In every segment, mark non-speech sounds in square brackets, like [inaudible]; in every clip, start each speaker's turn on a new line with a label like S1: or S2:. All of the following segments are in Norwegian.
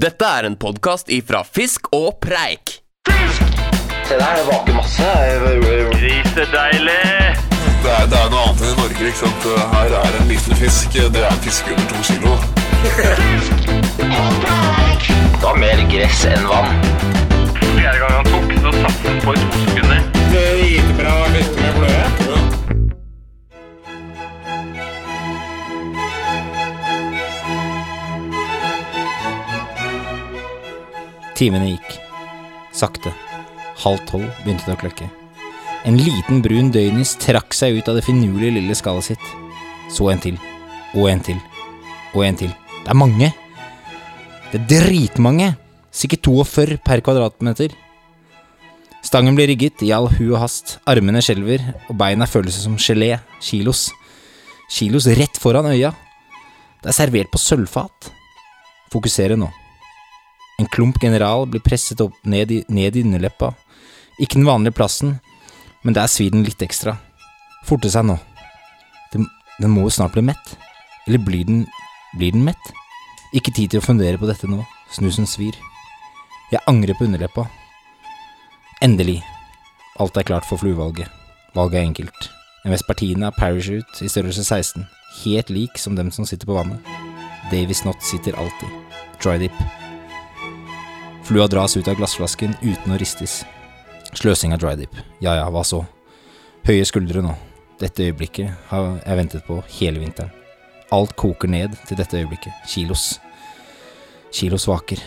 S1: Dette er en podkast ifra Fisk og Preik.
S2: Se der, det vaker masse. Det
S3: Grisedeilig!
S4: Det er, det er noe annet enn i Norge. ikke sant? Her er en liten fisk. Det er en fisk under to kilo.
S2: var mer gress enn vann.
S3: Fjerde gang han tok, så satte han på i to sekunder.
S5: Timene gikk. Sakte. Halv tolv begynte det å kløkke. En liten brun døgnis trakk seg ut av det finurlige lille skallet sitt. Så en til. Og en til. Og en til. Det er mange! Det er dritmange! Sikkert 42 per kvadratmeter. Stangen blir rigget i all hu og hast. Armene skjelver, og beina føles som gelé. Kilos. Kilos rett foran øya. Det er servert på sølvfat. Fokusere nå. En klump general blir presset opp ned i, ned i underleppa. Ikke den vanlige plassen, men der svir den litt ekstra. Forte seg nå. Den, den må jo snart bli mett. Eller blir den, blir den mett? Ikke tid til å fundere på dette nå. Snusen svir. Jeg angrer på underleppa. Endelig. Alt er klart for fluevalget. Valget er enkelt. En Vespertina Parachute i størrelse 16. Helt lik som dem som sitter på vannet. Davies Knot sitter alltid. Dry dip. Flua dras ut av glassflasken uten å ristes. Sløsing av dry dip. Ja ja, hva så? Høye skuldre nå. Dette øyeblikket har jeg ventet på hele vinteren. Alt koker ned til dette øyeblikket. Kilos. Kilos vaker.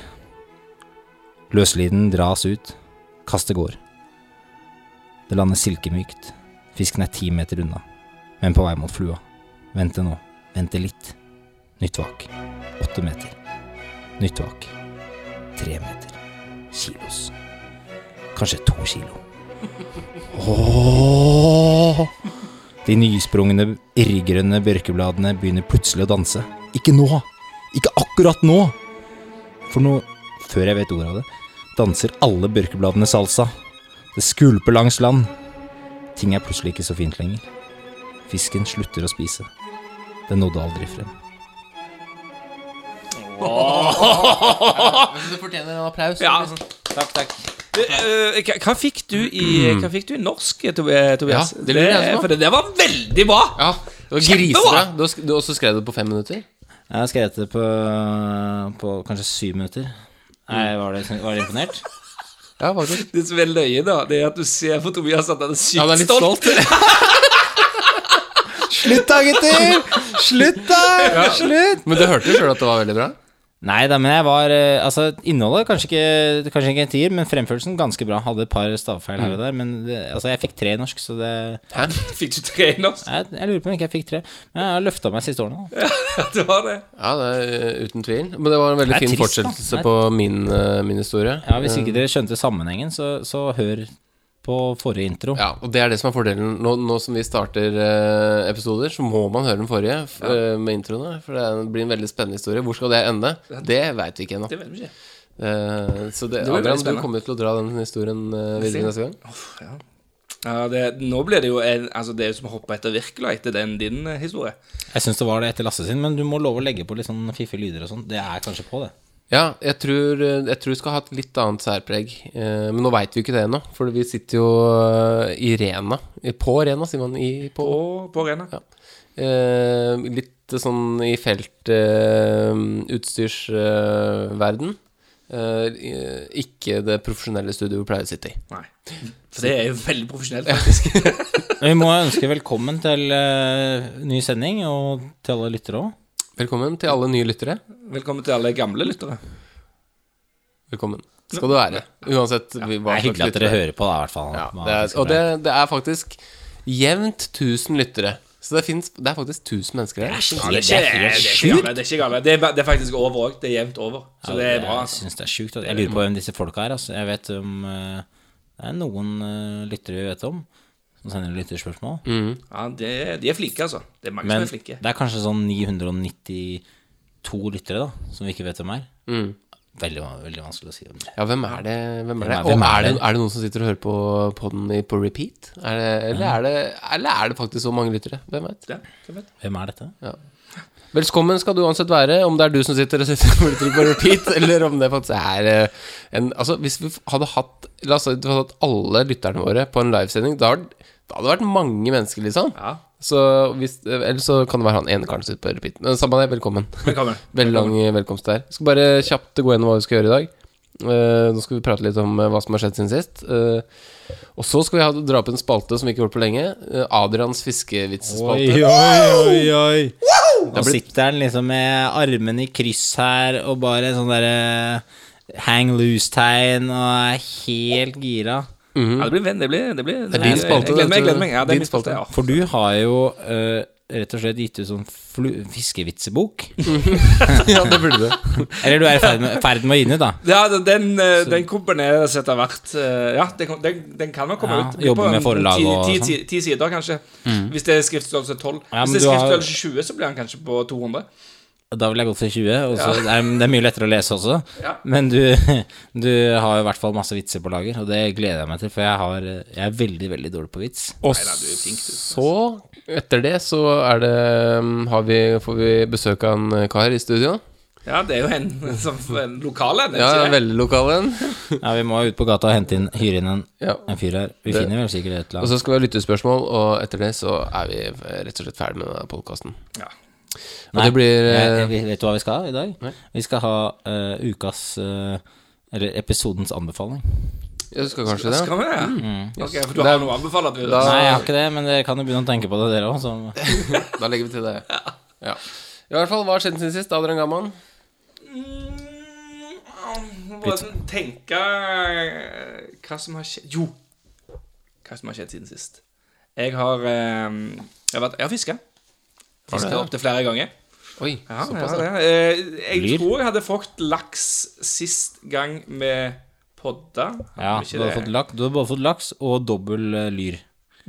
S5: Løsliden dras ut. Kastet går. Det lander silkemykt. Fisken er ti meter unna, men på vei mot flua. Vente nå. Vente litt. Nytt vak. Åtte meter. Nytt vak tre meter. Kilos. Kanskje to kilo. Ååå! De nysprungne, irrgrønne børkebladene begynner plutselig å danse. Ikke nå! Ikke akkurat nå! For nå, før jeg vet ordet av det, danser alle børkebladene salsa. Det skulper langs land. Ting er plutselig ikke så fint lenger. Fisken slutter å spise. Den nådde aldri frem.
S6: Du fortjener en applaus.
S7: Ja.
S6: liksom. Takk, takk.
S7: Eh, hva, hva fikk du i Hva fikk du i norsk, Tob- eh, Tobias?
S6: Ja, det lurer jeg også på.
S7: for det, det var veldig bra!
S6: Ja, det var
S7: Kjempebra!
S6: grisebra. Du, har sk- du har også skrev det på fem minutter.
S5: Jeg har skrevet det på, på kanskje syv minutter. Nei, var det, var det imponert?
S6: Ja, faktisk.
S7: Det som er løye, da, det er at du ser på Tobias at han er sykt
S6: Ja, han er litt
S7: stolt.
S6: stolt. Ja,
S5: [laughs] Slutt da, gutter! Slutt da! Slutt!
S6: Men du hørte jo sjøl at det var veldig bra.
S5: Nei da, men jeg var eh, Altså, innholdet kanskje ikke, kanskje ikke en tier, men fremførelsen ganske bra. Hadde et par stavfeil her og der, men det, altså, jeg fikk tre i norsk, så det
S6: Hæ?
S7: [laughs] Fikk du tre i norsk?
S5: Jeg, jeg lurer på om ikke jeg fikk tre. Men jeg har løfta meg siste årene. da.
S7: Ja, det var det.
S6: Ja, det er eh, uten tvil. Men det var en
S5: Det
S6: veldig
S5: er
S6: fin
S5: trist, da. Det
S6: fortsettelse
S5: er-
S6: på min, eh, min historie.
S5: Ja, Hvis ikke dere skjønte sammenhengen, så, så hør på forrige intro.
S6: Ja, og det er det som er fordelen. Nå, nå som vi starter eh, episoder, så må man høre den forrige f- eh, med introene. For det er- blir en veldig spennende historie. Hvor skal det ende? Det veit vi ikke ennå.
S7: Det vet vi ikke.
S6: Eh, så
S7: Det
S6: det,
S7: blir veldig
S6: Adrian, du
S7: spennende.
S6: kommer til å dra den historien eh, videre neste gang.
S7: Ja, det, nå blir det jo en, altså det er jo som å hoppe etter Wirkola etter den din eh, historie.
S5: Jeg syns det var det etter Lasse sin, men du må love å legge på litt sånn fiffige lyder og sånn. Det er kanskje på, det.
S6: Ja, jeg tror, eh, jeg tror vi skal ha et litt annet særpreg. Eh, men nå veit vi jo ikke det ennå, for vi sitter jo eh, i Rena. Eh, På Rena, sier man. I, på,
S7: På, på arena.
S6: Ja. Eh, litt sånn i eh, feltutstyrsverden. Eh, ikke det profesjonelle studioet vi pleier å sitte i.
S7: Nei. For det er jo veldig profesjonelt, faktisk.
S5: Men Vi må ønske velkommen til eh, ny sending, og til alle lyttere òg.
S6: Velkommen til alle nye lyttere.
S7: Velkommen til alle gamle lyttere.
S6: Velkommen skal du være. Uansett vi-
S5: Det
S6: hva
S5: er hyggelig at dere hører på, da, i hvert fall.
S6: Ja,
S5: Hva
S6: det er,
S5: skal
S6: og
S5: være.
S6: det, det er faktisk jevnt 1000 lyttere. Så det, finnes, det er faktisk 1000 mennesker her.
S7: Ja, det, er ikke, det, er ikke gale, det er ikke gale. Det er, ba- det er faktisk over òg. Det er jevnt over. Så det er bra.
S5: Jeg
S7: Altså.
S5: syns det er sjukt. at- Jeg lurer på hvem disse folka er. Altså. Jeg vet om eh, Det er noen eh, lyttere vi vet om, som sender lytterspørsmål.
S6: Mm.
S7: Ja, det, de er flinke, altså. Det er mange
S5: Men
S7: som er flinke.
S5: det er kanskje sånn 992 lyttere, da, som vi ikke vet hvem er.
S6: Mm.
S5: Veldig, van- veldig vanskelig å si. Om det.
S6: Ja, hvem er det? Hvem er det?
S5: er-
S6: Og
S5: hvem er
S6: er det,
S5: det?
S6: er det noen som sitter og hører på podden i- på repeat? Er det, eller, er det, eller er det faktisk så mange lyttere? Hvem vet?
S7: Ja, hvem vet?
S5: Hvem er dette?
S6: Ja. Velkommen skal du uansett være, om det er du som sitter og sitter og trykker på [laughs] repeat, eller om det faktisk er eh, en Altså, hvis vi hadde hatt La oss si at vi hadde hatt alle lytterne våre på en livesending, da, hadde- da hadde det vært mange mennesker, liksom.
S7: Ja.
S6: Så hvis, eh, eller så kan det være han ene karen som sitter på repeat. Men samme det, [laughs] velkommen.
S7: Velkommen.
S6: Veldig lang eh, velkomst der. Skal bare kjapt gå gjennom hva vi skal gjøre i dag. Eh, nå skal vi prate litt om eh, hva som har skjedd siden sist. Eh, og så skal vi ha, dra opp en spalte som vi ikke har gjort på lenge. Eh, Adrians fiskevitsespalte.
S5: oi, oi. Nå sitter han liksom med armene i kryss her og bare sånn derre hang loose-tegn og er helt gira.
S7: Ja, det blir venn, det blir Det, blir, det
S6: er din spalte,
S7: Jeg gleder meg.
S6: vet
S7: Jeg
S6: du.
S7: gleder meg. Ja, det
S6: Din
S7: er min spalte.
S6: spalte.
S7: Ja.
S5: For du har jo eh, rett og slett gitt ut sånn flu- fiskevitsebok.
S6: ja, det burde du.
S5: Eller du er i ferd med, ferd med å gi den ut, da.
S7: Ja, den, den, eh, den komponeres etter hvert. eh, Ja, den, kom- den, den kan nok komme
S5: Ja,
S7: ut. Det blir
S5: jobbe
S7: på
S5: med
S7: en-
S5: forlag
S7: ti-
S5: og
S7: ti-
S5: sånn.
S7: ti- Ti sider, kanskje. Hvis det er skriftstørrelse 12.
S5: Ja, men
S7: Hvis det
S5: du
S7: er
S5: har-
S7: skriftstørrelse 20, så blir han kanskje på 200.
S5: Da ville jeg gått for 20. Og så det, er, det er mye lettere å lese også.
S7: Ja.
S5: Men du, du har jo i hvert fall masse vitser på lager, og det gleder jeg meg til. For jeg, har, jeg er veldig, veldig dårlig på vits.
S6: Og så, etter det, så er det mm, har vi, Får vi besøk av en eh, kar i studio.
S7: Ja, det er jo en, [laughs] som en lokal en. er det
S6: Ja,
S7: ikke det?
S6: veldig lokal en. [laughs]
S5: Ja, vi må ut på gata og hente inn, hyre inn en,
S6: Ja.
S5: en fyr her. Vi finner vel sikkert et eller
S6: Og
S5: annet.
S6: så skal vi ha lyttespørsmål, og etter det så er vi eh, rett og slett ferdig med denne podkasten.
S7: Ja.
S6: Og det blir
S5: jeg,
S6: eh,
S5: jeg, Vet du hva vi skal ha i dag? Vi skal ha eh, ukas eh, Eller episodens anbefaling.
S6: Jeg husker kanskje det.
S7: Skal vi det? Ok, for du
S6: Det er-
S7: har noe å anbefale? Du.
S6: Da-
S5: Nei, jeg har ikke det, men dere kan jo begynne å tenke på det, dere òg.
S7: [laughs]
S6: Da legger vi til det. Ja. I hvert fall, hva har skjedd siden sist? Adrian Gamman?
S7: Mm, Bare tenke eh, hva som har skjedd Jo, hva som har skjedd siden sist. Jeg har eh, Jeg har, vært- jeg har fiska. Fiska opptil flere ganger.
S6: Oi,
S7: Ja, jeg
S6: såpass,
S7: har
S6: ja.
S7: det. Eh, Jeg
S5: Lyr.
S7: tror jeg hadde fått laks sist gang med podda.
S5: Ja,
S7: Om ikke
S5: du har,
S7: det-
S5: fått laks, du har både fått laks og dobbel eh, lyr.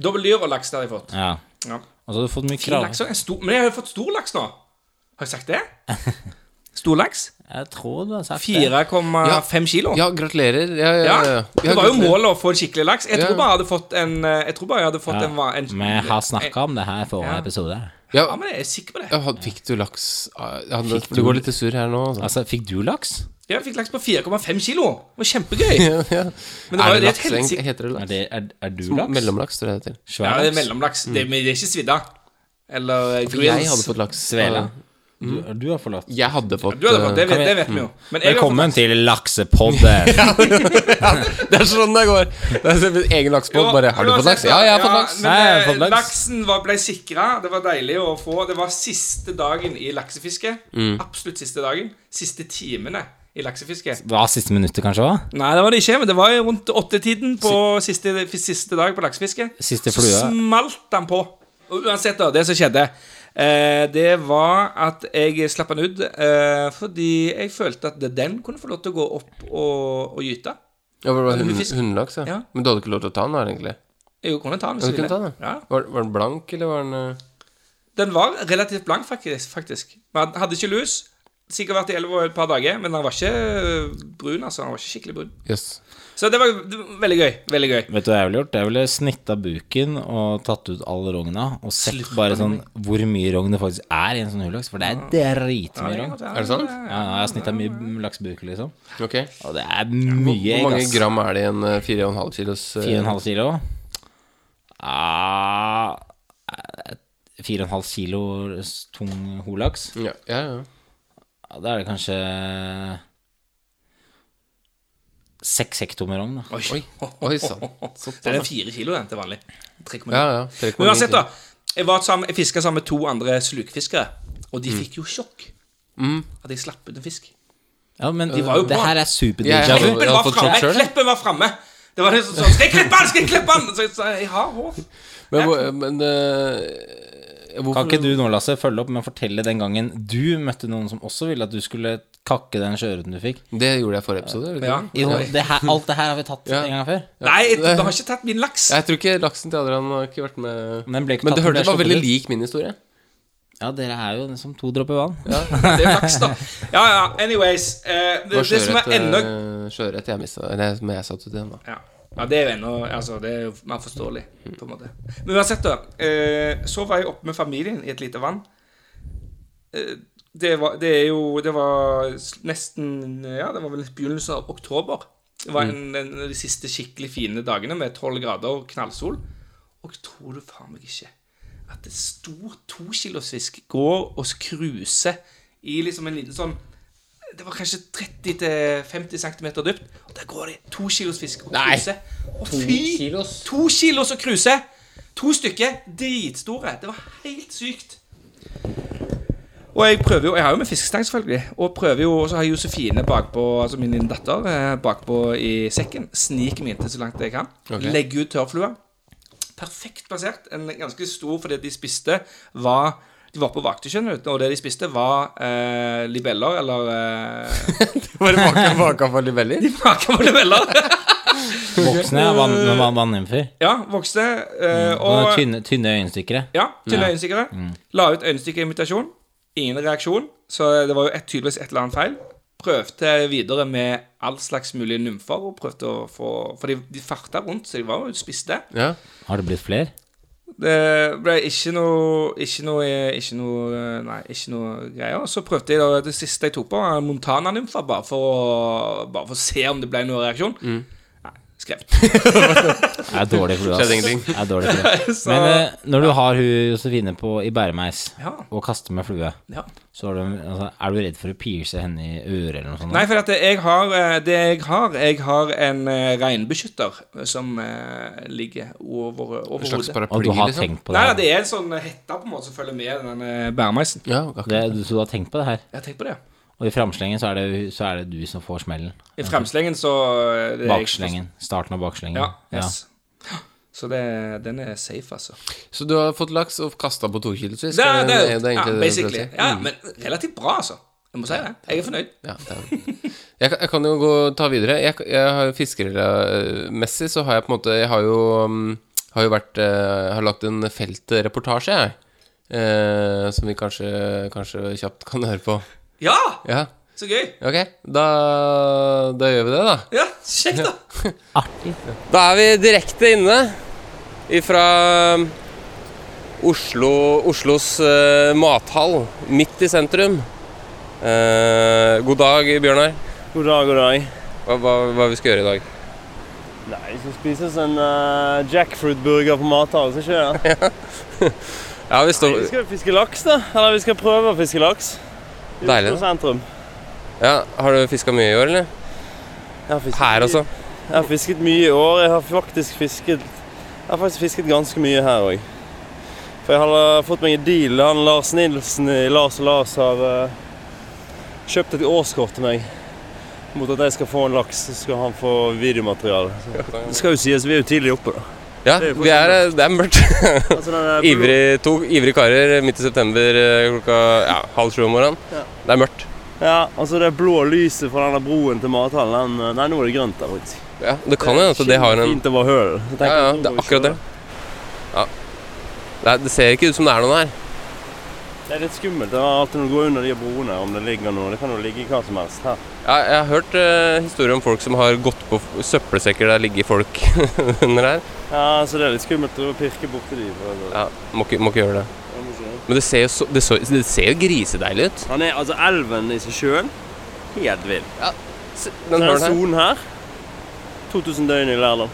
S7: Dobbel lyr og laks det har jeg fått.
S5: Ja.
S7: Ja.
S5: Og så har du fått mye
S7: Fin
S5: krav.
S7: laks, og en stor, men jeg har jo fått stor laks nå. Har jeg sagt
S5: [laughs]
S7: det? Stor laks?
S5: Jeg tror du har sagt det.
S7: 4,5 kilo.
S6: Ja, gratulerer. Ja, ja,
S7: Ja,
S6: ja, ja.
S7: det var jo
S6: gratulerer.
S7: målet å få en skikkelig laks. Jeg
S6: Ja.
S7: tror bare jeg hadde fått en eh, Jeg tror bare jeg hadde fått en, va- en
S5: Vi har snakka om det her i forrige
S7: Ja.
S5: episode.
S6: Ja,
S7: Ja, men jeg er sikker på det.
S6: ja, had- fikk du laks ah, ja, det- Du går litt sur her nå, altså.
S5: Altså, fikk du laks?
S7: Jeg fikk laks på 4,5 kilo. Det var kjempegøy.
S6: [laughs] Ja, ja.
S7: Men det var jo
S6: er det
S7: det
S6: laks,
S7: et
S6: egentlig?
S7: helsike...
S6: Heter det
S5: Er,
S6: laks?
S5: det, er, er du laks?
S6: Mellomlaks står det til.
S7: Ja,
S5: Svær
S7: det er
S5: laks?
S7: mellomlaks. Det, men det er ikke svidda. Eller eh,
S6: Mm. For jeg hadde
S7: grills.
S6: fått laks.
S5: Svele. Du, du har forlatt.
S6: Jeg hadde fått
S7: Du hadde fått, det vet,
S6: eh,
S5: Kan vi-
S7: det vet vi jo. Men jeg har fått
S5: Velkommen til
S7: [laughs]
S5: laksepodden.
S6: [laughs] Det er sånn det går. Det er sånn Egen laksbåt, bare Har du fått laks? Ja, jeg har fått laks.
S7: Men,
S5: Nei, jeg har
S7: eh,
S5: fått laks.
S7: Laksen var, ble sikra. Det var deilig å få. Det var siste dagen i laksefisket.
S6: Mm.
S7: Absolutt siste dagen. Siste timene i laksefisket.
S5: Hva, siste minuttet kanskje hva?
S7: Nei, det var det ikke, men det var jo rundt åttetiden på siste, siste dag på laksefisket.
S5: Siste
S7: Så
S5: flua.
S7: smalt han på. Og uansett, da, det som skjedde eh, Det var at jeg slapp han ut eh, fordi jeg følte at den kunne få lov til å gå opp og, og gyte.
S6: Ja, for det var hund,
S7: fisk.
S6: Hundelaks, ja.
S7: Ja.
S6: Men du hadde ikke lov til å ta den, da, egentlig?
S7: Jeg kunne ta den hvis
S6: Ja,
S7: jeg
S6: du kunne
S7: ville.
S6: ta den, ja.
S7: Ja.
S6: Var, var den blank, eller var den eh,
S7: Den var relativt blank, faktisk. faktisk. Men han hadde ikke lus. Sikkert vært i elva et par dager, men han var ikke øh, brun. altså, han var ikke skikkelig brun.
S6: Jøss.
S7: Så det var, det var veldig gøy. veldig gøy.
S5: Vet du hva jeg ville gjort? Jeg ville snitta buken og tatt ut all rogna. Og sett bare sånn hvor mye rogn det faktisk er i en sånn hullaks. For det er dritmye rogn.
S6: Er det sant?
S5: Ja, jeg har snitta mye laksebuk, liksom.
S6: Ok.
S5: Og det er mye
S6: Hvor
S5: egg,
S6: mange
S5: ass.
S6: gram er det i en eh, 4,5 kilos eh,
S5: 4,5 kilo? Ah, eh, 4,5 kilo s- tung holaks?
S6: Ja, ja, ja.
S5: Ja, da er det kanskje Seks hekto med rogn, da.
S6: Oi, oi sann. [laughs] Såpass,
S7: Det
S6: ja.
S7: er fire kilo den til vanlig. 3,9.
S6: Ja, ja. 3,9
S7: Men uansett, da. Jeg, var sammen- jeg fiska sammen med to andre slukfiskere, og
S6: Mm.
S7: de fikk jo sjokk. At jeg slapp ut en fisk.
S5: Ja, men det,
S7: var jo bra.
S5: her er altså. super
S6: Ja,
S5: déjà
S6: ja,
S5: vu.
S6: ja.
S7: Kleppen
S6: hadde
S7: var
S6: fått sjokk
S7: framme!
S6: selv, ja.
S7: Kleppen var fremme. Det var liksom sånn Skal jeg klippe han?! Skal jeg klippe han?! Så jeg sa jeg har hår.
S6: Men, hvor- men eh, hvorfor
S5: Kan ikke du nå, Lasse, følge opp med å fortelle den gangen du møtte noen som også ville at du skulle kakke den sjøørreten du fikk?
S6: Det gjorde jeg forrige episode. gjorde jeg
S7: Ja.
S6: ikke det?
S5: Jo, det her, alt det her har vi tatt
S6: Ja.
S5: en gang før.
S7: Nei, jeg, du har ikke tatt min laks.
S6: Jeg tror ikke laksen til Adrian har ikke vært med
S5: Men den ble ikke
S6: Men det
S5: tatt, den
S6: hørte
S5: ble
S6: var veldig
S5: sluppet ut.
S6: lik min historie.
S5: Ja, dere er jo som to dråper vann.
S7: Det er flaks, da. Ja, ja, anyways. Eh, det,
S6: Det
S7: det som er enda
S6: var sjøørret jeg mista. Eller som jeg satt ut igjen, da.
S7: ja. ja, det er jo ennå Altså, det er jo mer forståelig, på en måte. Men uansett, da. Eh, så var jeg oppe med familien i et lite vann. eh, det var, det er jo Det var s- nesten Ja, det var vel begynnelsen av oktober. Det var en, en av de siste skikkelig fine dagene med tolv grader og knallsol. Og tror du faen meg ikke at en stor tokilosfisk går og cruiser i liksom en liten sånn Det var kanskje 30-50 cm dypt. Og der går det to kilos fisk og
S6: Nei.
S7: cruiser. Å, fy! Kilos. To kilos og cruiser! To stykker. Dritstore. Det var helt sykt. Og jeg prøver jo, jeg har jo med fiskestang selvfølgelig, og prøver jo, og så har jeg Josefine bakpå, altså min lille datter, eh, bakpå i sekken. Sniker meg inntil så langt jeg kan. Legger ut tørrflua. Perfekt plassert. En ganske stor, fordi de spiste var De var på vakte, skjønner du, og det de spiste, var eh, libeller, eller eh, [laughs]
S6: Bare baka, baka for libeller?
S7: De baka på libeller! [laughs]
S5: Voksne vann- vann- vannymfer.
S7: ja, vokste. Eh,
S5: Og
S7: og
S5: tynne, tynne øyenstikkere.
S7: Ja, til øyenstikkere. La ut øyenstikkerinvitasjon. Ingen reaksjon, så det var jo et, tydeligvis et eller annet feil. Prøvde videre med all slags mulige nymfer, og prøvde å få For de, de farta rundt, så de var jo spiste.
S6: Ja.
S5: Har det blitt flere?
S7: Det ble ikke noe Ikke noe, ikke noe Nei, ikke noe greier. Så prøvde jeg da det siste jeg tok på, var Montana-nymfer, bare, for å- bare for å se om det ble noen reaksjon. Nei, skrevet.
S5: Det er dårlig flue, ass.
S6: Skjedde ingenting.
S5: Det er dårlig flue. Men eh, når du har hun Josefine på i bæremeis
S7: Ja.
S5: og kaster med flue,
S7: Ja.
S5: så har du, altså, er du redd for å pierce henne i øret eller noe sånt?
S7: Nei, for at jeg har eh, Det jeg har Jeg har en eh, regnbeskytter eh, som eh, ligger over, over
S6: En slags
S5: Og
S7: hodet.
S6: paraply,
S5: du har
S6: liksom?
S5: tenkt på det?
S7: Nei, nei,
S5: her?
S7: det er en sånn hette på en måte som følger med den eh, bæremeisen.
S6: Ja, akkurat.
S5: det, du- så du har tenkt på det her?
S7: Jeg har tenkt på det.
S5: Og i framslengen så er det, så er det du som får smellen.
S7: I fremslengen så eh, det er jeg-
S5: Bakslengen. Starten av bakslengen.
S7: Ja. Yes. Så det, den er safe, altså.
S6: Så du har fått laks og kasta på tokilosfisk?
S7: Det er,
S6: er
S7: det er,
S6: det- det er
S7: ja,
S6: egentlig det du prøver å si? Mm.
S7: basically. Ja, men relativt bra, altså. Jeg må si det. Jeg er fornøyd.
S6: Ja, det er... jeg, kan- jeg kan jo gå, ta videre. Jeg, jeg har jo fiskermessig så har jeg på en måte Jeg har jo, um, har jo vært eh, Har lagt en feltreportasje, jeg. Eh, som vi kanskje, kanskje kjapt kan høre på.
S7: Ja!
S6: Ja,
S7: Så gøy.
S6: ok. Da, da gjør vi det, da.
S7: Ja, Kjekt, da.
S6: Da er vi direkte inne ifra um, Oslo, Oslos eh, mathall, midt i sentrum. Eh, god dag, Bjørnar.
S8: God dag, god dag.
S6: Hva, hva, hva vi skal gjøre i dag?
S8: Nei, vi skal spise oss en eh, jackfruit-burger på mathallen, så ikke det?
S6: Ja, vi står...
S8: Vi skal jo fiske laks, da. Eller vi skal prøve å fiske laks. I
S6: Deilig,
S8: Oslo sentrum.
S6: Ja, Har du fiska mye i år, eller?
S8: Jeg har fisket
S6: Her
S8: mye-
S6: også?
S8: Jeg har fisket mye i år. Jeg har faktisk fisket Jeg har faktisk fisket ganske mye her òg. For jeg har eh, fått meg en deal. Han Lars Nilsen i Lars og Lars har eh, kjøpt et årskort til meg mot at jeg skal få en laks, så skal han få
S6: [laughs]
S8: videomateriale. Så. Det skal jo sies, vi er jo tidlig oppe, da.
S6: Ja,
S8: Det er jo
S6: vi er, det er mørkt. [laughs]
S8: Altså, den der-
S6: Ivrig, to ivrige karer midt i september eh, klokka ja, halv sju om morgenen.
S8: Ja.
S6: Det er mørkt.
S8: Ja, altså det blå lyset fra denne broen til mathallen den- eh, Nei, nå er det grønt der, faktisk.
S6: Ja, Det kan jo at det har en
S8: Fint over hølen. Så tenker
S6: Ja, ja,
S8: jeg, nå må
S6: det er
S8: vi
S6: akkurat det.
S8: kjøre.
S6: Ja. Det, er, det ser ikke ut som det er noen her.
S8: Det er litt skummelt det er alltid når du går under de broene, om det ligger noe. Det kan jo ligge hva som helst her.
S6: Ja, jeg har hørt eh, historier om folk som har gått på f- søppelsekker der ligger folk [laughs] under her.
S8: Ja, så det er litt skummelt å pirke borti de. for det-
S6: Ja, må ikke, må ikke gjøre det.
S8: det må ikke gjøre.
S6: Men det ser jo, så, det så, det ser jo grisedeilig ut.
S8: Han er altså elven i seg sjøl. Helt vill.
S6: Se,
S8: Den
S6: Den
S8: denne
S6: høren her.
S8: sonen her 2000 døgn i Lærdal.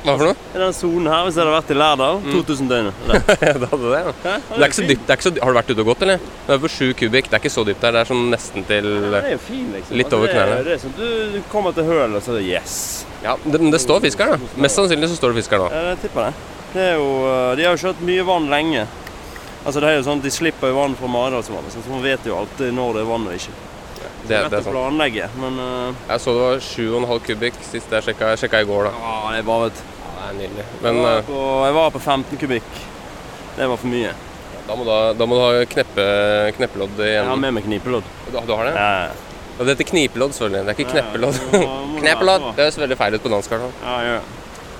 S6: Hva for noe?
S8: I denne sonen her, hvis jeg hadde vært i Lærdal, 2000 døgn. Det
S6: [laughs] Ja, Mm. [laughs] det hadde det, ja. Det er ikke så dypt. Det er ikke så, dy- har du vært ute og gått, eller? Det er på sju kubikk. Det er ikke så dypt der. Det er sånn nesten til
S8: Det er jo fin, liksom.
S6: Litt
S8: Altså,
S6: over
S8: det er-
S6: knærne.
S8: Det er sånn, du, du kommer til hølet, og så er det yes.
S6: Ja, det, men det står fisk her, da. Mest sannsynlig så står det fisk her nå.
S8: Ja, jeg tipper det. det er jo, eh, de har jo kjørt mye vann lenge. Altså det er jo sånn at De slipper jo vann fra Maridalsvannet, så man vet jo alltid når det er vann og ikke.
S6: Det, det er
S8: å
S6: sant.
S8: planlegge, men eh,
S6: Jeg så det var sju og en halv kubikk sist jeg sjekka, jeg sjekka i går, da.
S8: ja, det er bare et
S6: Ja, det er nydelig.
S8: jeg,
S6: Men
S8: var
S6: eh,
S8: på, jeg var på 15 kubikk. Det var for mye.
S6: da, må du ha- da må du ha kneppe, kneppelodd i
S8: Jeg har
S6: enden.
S8: med meg knipelodd.
S6: Du, du har det?
S8: Ja,
S6: Og det heter knipelodd, selvfølgelig. Det er ikke
S8: Ja, ja.
S6: kneppelodd.
S8: Må- må det
S6: kneppelodd!
S8: være på.
S6: Det høres veldig feil ut på dansk. i hvert fall.
S8: ja, ja.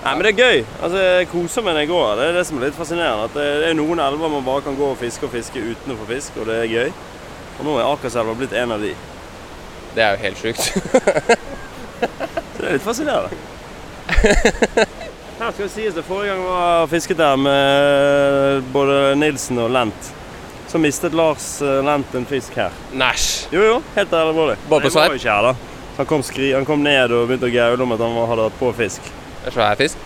S8: Nei, men det er gøy. Altså, Jeg koser meg når jeg går her. Det er det som er litt fascinerende. At det det er noen elver man bare kan gå og fiske og fiske uten å få fisk, og det er gøy. Og nå er Akerselva blitt en av de.
S6: Det er jo helt sjukt. [laughs]
S8: Det er litt fascinerende. Her skal det sies det forrige gang jeg var og fisket der med både Nilsen og Lent, så mistet Lars eh, nevnt en fisk her.
S6: Næsj.
S8: Jo, jo, helt alvorlig.
S6: Bare på
S8: Jeg var
S6: sveip?
S8: jo ikke her, da. Så han kom, skri han kom ned og begynte å gaule om at han hadde hatt på fisk.
S6: Det er svær fisk.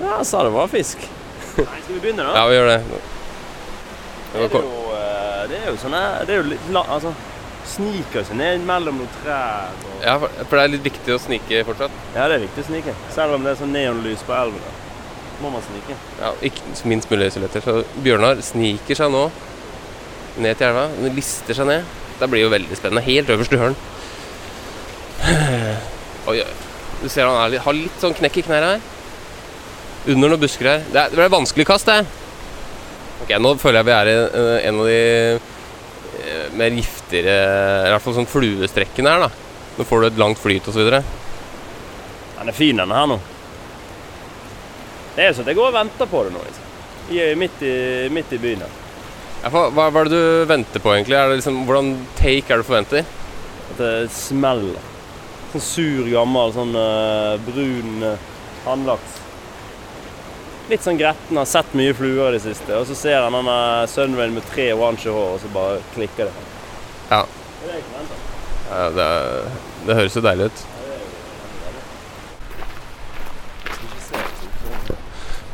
S8: Ja, han sa det var fisk. Nei, skal vi begynne, da?
S6: Ja, vi gjør det.
S8: det, er jo, eh, det er jo sånn her Det er jo litt la, Altså, sniker seg ned mellom noen trær og
S6: Ja, for for det er litt viktig å snike fortsatt.
S8: Ja, det er viktig å snike. Selv om det er sånn neonlys på elven. da. Må man snike.
S6: Ja, ikke minst mulig silhuetter. Så Bjørnar sniker seg nå ned til elva. Han lister seg ned. Det blir jo veldig spennende. Helt øverst i hørn. [sighs] Oi, oi. Du ser han er litt, har litt sånn knekk i knærne her. Under noen busker her. Det, er, det ble et vanskelig kast, det. Ok, nå føler jeg vi er i eh, en av de eh, mer giftigere I hvert fall sånn fluestrekkene her, da. Nå får du et langt flyt og så videre.
S8: Den er fin, denne her nå. Det er jo sånn at jeg går og venter på det nå. Liksom. Jeg er midt i, midt i byen her.
S6: Ja, hva, hva hva er det du venter på, egentlig? Er det liksom, hvordan take er det du forventer?
S8: At det smeller. Sånn sur, gammel, sånn eh, brun uh, hannlaks. Litt sånn gretten, har sett mye fluer i det siste. Og så ser han denne Sunrain med tre oransje hår, og så bare klikker det.
S6: Ja.
S8: Det er det jeg forventer.
S6: Ja, det, er- det høres jo deilig ut.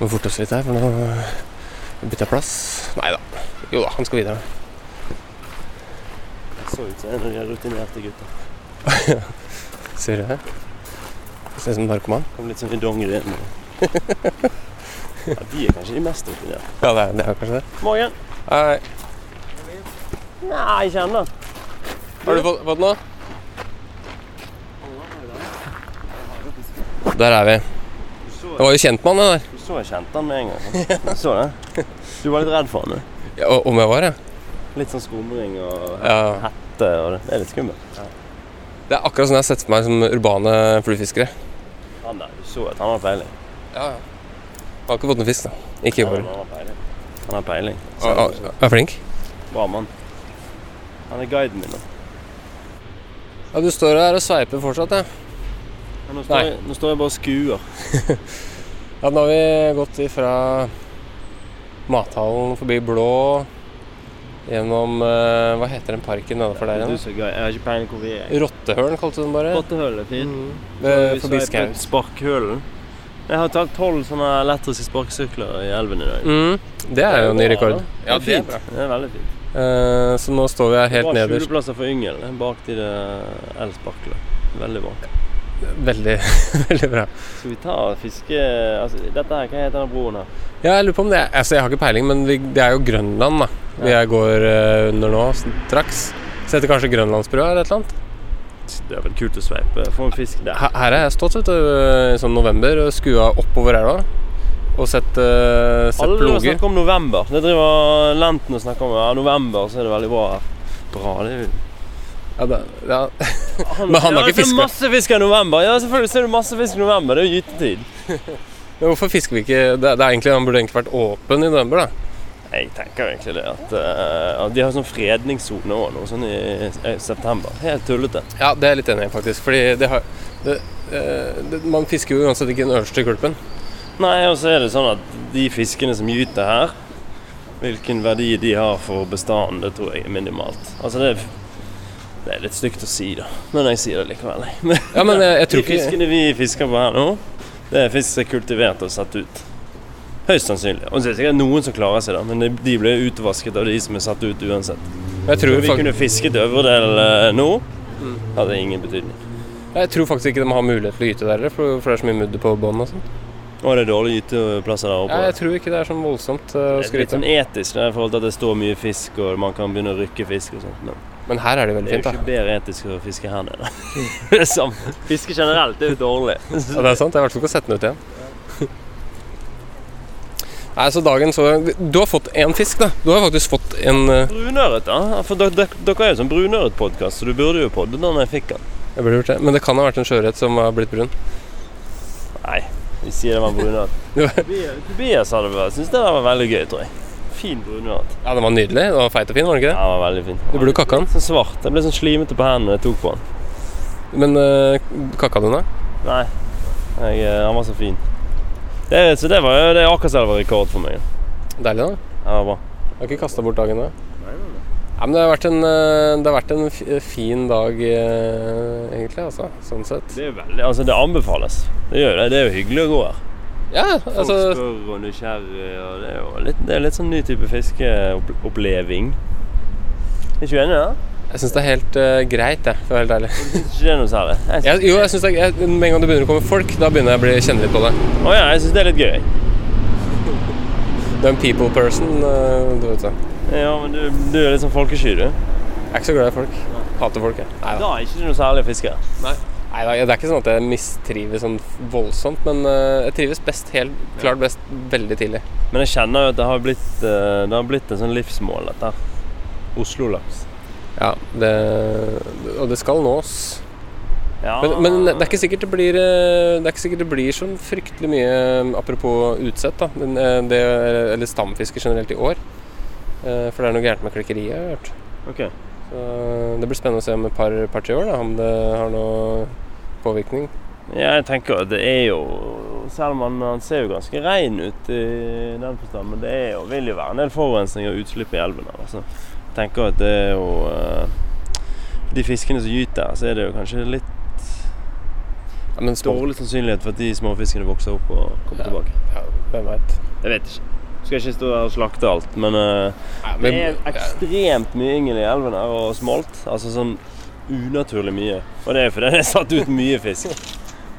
S6: Må forte oss litt her, for nå bytter jeg plass. Nei da. Jo da, han skal videre.
S8: Det så ut som en av de rutinerte gutta.
S6: Ser du her? Ser ut som en narkoman.
S8: Kom litt sånn i dongeri inn. Ja, de er kanskje de mest rutinerte.
S6: Ja, det er, det er kanskje det.
S8: Morgen.
S6: Hei.
S8: Nei, ikke ennå.
S6: Har du fått, fått noe? Der er vi. Jeg var jo kjent med han, det
S8: Du så jeg kjente han med en gang. Du så det? Du var litt redd for han, du.
S6: der. Ja, og- om jeg var, ja.
S8: Litt sånn skumring og
S6: ja.
S8: hette og det. Det er litt skummelt.
S6: Det er akkurat sånn jeg har sett for meg som urbane fluefiskere.
S8: Han der, du så at han har peiling.
S6: Ja, ja. Har ikke fått noen fisk, da. Ikke i år.
S8: Han har peiling. Han har peiling.
S6: Ah, ah, Er jeg flink?
S8: Bra mann. Han er guiden min nå.
S6: Ja, Du står her og sveiper fortsatt, ja.
S8: Men Nå
S6: Nei.
S8: står, jeg, nå står jeg bare og skuer.
S6: Ja, Nå har vi gått ifra mathallen forbi Blå, gjennom eh, Hva heter den parken nedenfor der
S8: Du
S6: igjen?
S8: som er guide. Jeg har ikke peiling hvor vi er.
S6: Rottehølen, kalte du den bare?
S8: Rottehølet er fint.
S6: Eh,
S8: Vi
S6: forbi
S8: sveiper
S6: skauen.
S8: Sparkhølen. Jeg har tatt tolv sånne elektriske sparkesykler i elven i dag.
S6: Mm, det er jo en ny rekord.
S8: Ja, det er fint. Det er veldig fint.
S6: Eh, så nå står vi her helt
S8: Bra
S6: nederst.
S8: skjuleplasser for yngel eh, bak de der elsparklene. Veldig bra.
S6: Veldig, [laughs] veldig bra.
S8: Skal vi ta og fiske altså, Dette her, hva heter denne broen her?
S6: Ja, jeg lurer på om det er, altså jeg har ikke peiling, men vi, det er jo Grønland da vi er- går eh, under nå straks. Så heter det kanskje Grønlandsbrua eller et eller annet.
S8: Det er vel kult å eh, sveipe. Få en fisk der.
S6: Her, her har jeg stått vet du, i sånn november og skua oppover elva og sett, eh, sett
S8: Alle
S6: ploger.
S8: snakker om november. Det driver Lenten og snakker om. Ja, november, så er det veldig bra her. Bra, det er jo
S6: Ja, da, ja. [laughs] Men han har
S8: Ja, det
S6: ikke
S8: er
S6: fisket.
S8: masse fisk i november! Ja, selvfølgelig ser du masse fisk i november. Det er jo gytetid.
S6: Men hvorfor fisker vi ikke det, det er egentlig, Han burde egentlig vært åpen i november, da.
S8: Jeg tenker jo egentlig det at, eh, at de har sånn fredningssone òg nå, sånn i, i september. Helt tullete.
S6: Ja, det er jeg litt enig i, faktisk. Fordi det har det, eh, det, Man fisker jo uansett ikke den øverste kulpen.
S8: Nei, og så er det sånn at de fiskene som gyter her, hvilken verdi de har for bestanden, det tror jeg er minimalt. Altså det er, det er litt stygt å si, da, men jeg sier det likevel. [laughs] jeg. Men
S6: Ja, men eh, jeg, jeg tror
S8: de
S6: ikke
S8: fiskene vi fisker på her nå, det er fisk som er kultivert og satt ut. Høyst sannsynlig. Og så er det sikkert noen som klarer seg, da, men de- de ble utvasket av de som er satt ut uansett.
S6: Jeg tror, Mm.
S8: Om vi
S6: fak-
S8: kunne fisket øvre del eh, nå, hadde det ingen betydning.
S6: jeg tror faktisk ikke de har mulighet til å gyte der heller, for, for det er så mye mudder på bånn og sånn.
S8: Og det er dårlige gyteplasser der oppe.
S6: Ja, jeg tror ikke det er sånn voldsomt eh, å
S8: det er litt
S6: skryte.
S8: sånn etisk da, i forhold til at det står mye fisk, og man kan begynne å rykke fisk og sånt. Men
S6: Men her er det veldig
S8: Det er
S6: fint,
S8: jo ikke
S6: da.
S8: bedre etisk å fiske her nede. [laughs] det er samme. Fiske generelt er jo dårlig.
S6: Ja, det er sant. Jeg har i hvert fall ikke sett den ut igjen. [laughs] Nei, så dagen så Du har fått én fisk, da. Du har faktisk fått en eh,
S8: Brunøret, da? For dere, dere- dere er jo sånn brunøretpodkast, så du burde jo podde da når jeg fikk den.
S6: Jeg burde gjort det. Men det kan ha vært en sjøørret som har blitt brun.
S8: Nei, vi sier det var brunøret. Tobias- Tobias hadde vært Syns det der var veldig gøy, tror jeg. Fin brunøret.
S6: Ja, den var nydelig. Den var feit og fin, var den ikke
S8: Ja, den
S6: det?
S8: var veldig fin.
S6: Du burde kakka den.
S8: Sånn svart. Jeg ble sånn slimete på hendene jeg tok på den.
S6: Men eh, kakka du den, da?
S8: Nei, jeg, eh, han var så fin. Det, så det var jo det er akkurat selv rekord for meg.
S6: Deilig, da.
S8: Det var bra.
S6: Jeg har ikke kasta bort dagen, da. Ja, men det har vært en, eh, det har vært en fi- fin dag, eh, egentlig, altså. Sånn sett.
S8: Det er jo veldig, altså det anbefales. Det gjør det. Det er jo hyggelig å gå her.
S6: Ja,
S8: Folk
S6: altså
S8: spør og nysgjerrig, og det er jo litt, det er litt sånn ny type fiskeoppleving. Er ikke du enig i det?
S6: Jeg syns det er helt eh, greit, jeg, for å være helt ærlig.
S8: Ikke det er noe særlig. Jeg
S6: Jeg, jo, jeg synes det er, jeg, Med en gang det begynner å komme folk, da begynner jeg å bli kjenne litt på det.
S8: sy- Å ja, jeg syns det er litt gøy.
S6: Du er en people person, eh, du vet det.
S8: Ja, men du, du er litt sånn folkesky, du.
S6: Jeg er ikke så glad i folk. Hater folk, jeg. Nei da.
S8: Da er ikke du noe særlig fisker.
S6: Nei da, Det er ikke sånn at jeg mistrives sånn voldsomt, men eh, jeg trives best helt klart best veldig tidlig.
S8: Men jeg kjenner jo at det har blitt, eh, det har blitt en sånn livsmål, dette. Oslo-laks.
S6: Ja, det, Og det skal nås.
S8: Ja.
S6: Men, men det er ikke sikkert det blir eh, Det er ikke sikkert det blir så fryktelig mye eh, Apropos utsett, da. Men, eh, Det, eller stamfiske generelt i år. Eh, For det er noe gærent med klikkeriet, har jeg hørt.
S8: Ok.
S6: Så eh, det blir spennende å se om et par-tre par, tre år da, om det har noe påvirkning.
S8: Ja, jeg tenker at det er jo Selv om han, han ser jo ganske rein ut i den forstand, men det er jo, vil jo være en del forurensning og utslipp i elven. her, Altså. Jeg tenker at det er jo eh, For de fiskene som gyter her, så er det jo kanskje litt
S6: Ja, men små,
S8: dårlig sannsynlighet for at de småfiskene vokser opp og kommer
S6: Ja.
S8: tilbake.
S6: ja, hvem veit.
S8: Jeg vet ikke. Skal ikke stå her og slakte alt, men eh, det er ekstremt mye yngel i elven her, og smolt. Altså sånn unaturlig mye. Og det er fordi det er satt ut mye [laughs] fisk.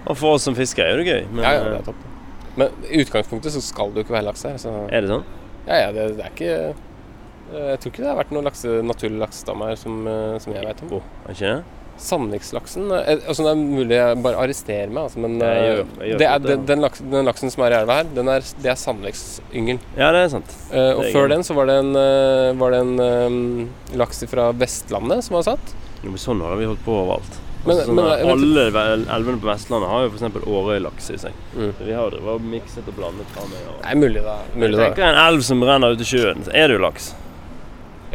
S8: Og for oss som fisker er det gøy, men
S6: Ja, ja, det
S8: eh,
S6: er topp. Men i utgangspunktet så skal det jo ikke være laks her. Så
S8: er det sånn?
S6: ja, ja, det, det er ikke eh, Jeg tror ikke det har vært noen lakse, naturlig laksestamme her som, eh, som jeg veit om.
S8: Er ikke det?
S6: Sandvikslaksen eh, altså Det er mulig jeg bare arresterer meg, altså, men
S8: Jeg
S6: eh,
S8: gjør- jeg gjør
S6: det er,
S8: fort det,
S6: den, den, laksen, den laksen som er i elva her, den er, det er sandviksyngel.
S8: Ja, det er sant.
S6: Eh, og
S8: Det er
S6: før
S8: gøy.
S6: den så var det en, eh, var det en eh, laks fra Vestlandet som var satt.
S8: Jo, men sånn har vi holdt på overalt.
S6: Men- eh,
S8: altså, sånn
S6: men-
S8: her,
S6: men-
S8: alle vel- elvene på Vestlandet har jo f.eks. Årøy-laks i seg.
S6: Mm.
S8: Så Vi har jo drevet og mikset og blandet fra med. Og...
S6: Nei, mulig da. Mulig
S8: Jeg
S6: da.
S8: tenker en elv som renner ut i sjøen, så er det jo laks.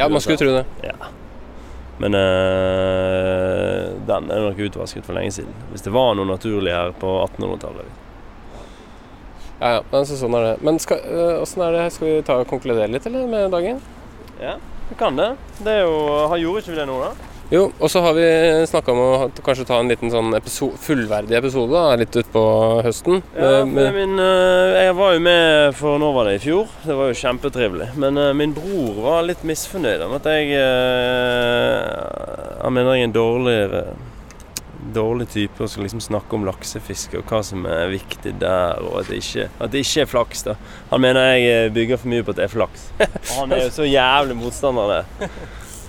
S6: Ja, man skulle tro det.
S8: Men eh, den er nok utvasket for lenge siden. Hvis det var noe naturlig her på 1800-tallet.
S6: Ja, ja, men så sånn er det. Men skal, eh, åssen er det? skal vi ta og konkludere litt eller, med dagen?
S8: Ja, vi kan det. Det er jo har- Gjorde ikke vi det nå, da?
S6: Jo, og så har vi snakka om å ha- kanskje ta en liten sånn episo- fullverdig episode da, litt utpå høsten.
S8: Ja,
S6: Eh,
S8: for
S6: men-
S8: min, eh, jeg var jo med for når var det i fjor. Det var jo kjempetrivelig. Men eh, min bror var litt misfornøyd om at jeg eh, Han mener jeg er en dårligere dårlig type og skal liksom snakke om laksefiske og hva som er viktig der, og at det ikke, at det ikke er flaks. da. Han mener jeg eh, bygger for mye på at det er flaks. [laughs] Og han er jo så jævlig motstander av det. [laughs]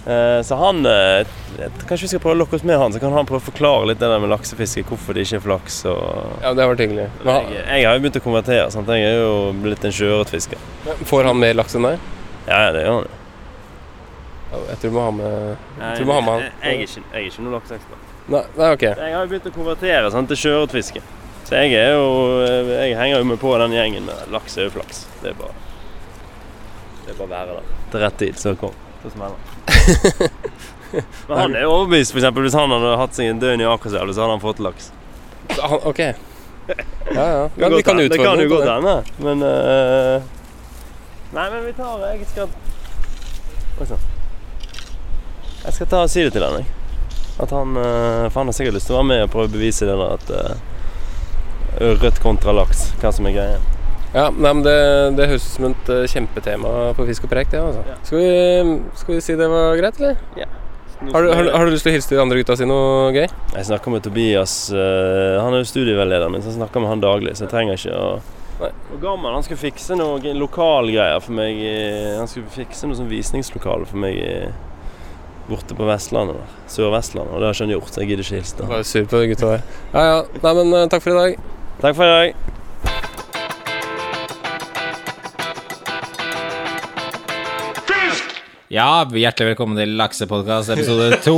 S8: Eh, Så han eh, jeg- Kanskje vi skal prøve å lokke oss med han, så kan han prøve å forklare litt det der med laksefiske, hvorfor det ikke er flaks. og...
S6: ja, det har vært hyggelig. Men
S8: Jeg, jeg har jo begynt å konvertere. Sant? Jeg er jo blitt en sjøørret fisker.
S6: han- får han mer laks enn deg?
S8: Ja, ja, det gjør han jo.
S6: Ja, Jeg tror du må ha med tror du må ha med han.
S8: ikke, jeg er ikke noen lakseekspert.
S6: Nei, nei, ok.
S8: Jeg har jo begynt å konvertere sant, til sjøørretfiske. Så jeg er jo Jeg henger jo med på den gjengen med laks er jo flaks. Det er bare Det er bare å være der. Til rett tid, så kom. Så smeller det. [laughs] Men han er jo overbevist, for eksempel Hvis han hadde hatt seg en døgn i Akerselv, så hadde han fått laks.
S6: Så Han, ok. Ja, ja.
S8: Det
S6: Men vi kan
S8: godt hende-
S6: utfordre
S8: Det kan jo
S6: på
S8: godt
S6: det.
S8: hende, men eh, Nei, men vi tar det. Jeg skal Oi sann. Jeg skal ta og si det til han, jeg. At han eh, For han har sikkert lyst til å være med og prøve å bevise det der at eh, Ørret kontra laks, hva som er greia.
S6: Ja, nei, men det, det høres ut som et eh, kjempetema på Fisk og preik, det. altså.
S8: Ja.
S6: Skal, vi, skal vi si det var greit, eller? Har du, har, du- har du lyst til å hilse til de andre gutta og si noe gøy?
S8: Jeg snakker med Tobias. eh, han er jo studieveilederen min, så jeg snakker med han daglig. Så jeg trenger ikke å
S6: Nei.
S8: Og Gammal han skulle fikse noe lokalgreier for meg. i- Han skulle fikse noe sånn visningslokale for meg i, borte på Vestlandet. der, Sør-Vestlandet. Og det har ikke han gjort, så jeg gidder ikke hilse til han.
S6: Bare sur på de gutta der. Ja, ja. Nei, men eh, takk for i dag.
S8: Takk for i dag.
S5: Ja, hjertelig velkommen til Laksepodkast
S7: [laughs]
S5: episode to.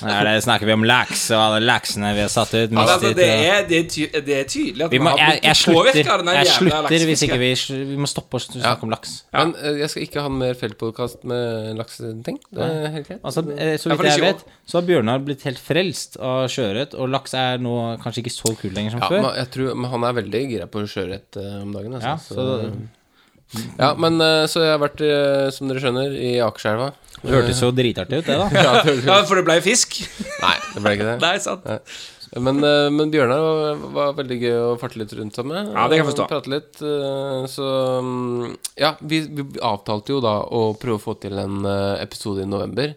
S5: Her er det- snakker vi om laks og alle laksene vi har satt ut.
S7: Ja, men
S5: mistet
S7: altså,
S5: ut,
S7: det,
S5: og-
S7: er, det, er ty det er tydelig at
S5: vi må,
S7: man har
S5: jeg, jeg
S7: blitt
S5: slutter,
S7: påvirket av den der
S5: jeg
S7: jævla
S5: slutter hvis ikke
S7: laksefisken.
S5: vi, sl- vi må stoppe å sn- snakke om laks.
S6: Ja. Men eh, jeg skal ikke ha en mer feltpodkast med lakseting. Det er helt greit.
S5: Altså, eh, så
S7: Ja, for
S5: vidt jeg
S7: det er
S5: vet, så har Bjørnar blitt helt frelst av sjøørret, og laks er nå kanskje ikke så kul lenger som
S6: Ja,
S5: før.
S6: men jeg tror, men han er veldig gira på sjøørret eh, om dagen. Altså.
S5: Ja, så
S6: Ja, men eh, så jeg har vært, eh, som dere skjønner, i Akerselva.
S5: Det hørtes jo dritartig ut, det,
S7: [laughs]
S5: da.
S6: Ja, det-
S7: Ja, For det ble fisk?
S6: Nei, det ble ikke det.
S7: Nei, sant.
S6: Men, eh, men Bjørnar var, var veldig gøy å farte litt rundt sammen med.
S7: Ja, det kan jeg
S6: og
S7: forstå.
S6: Prate litt. eh, Så mm, Ja, vi, vi avtalte jo da å prøve å få til en eh, episode i november.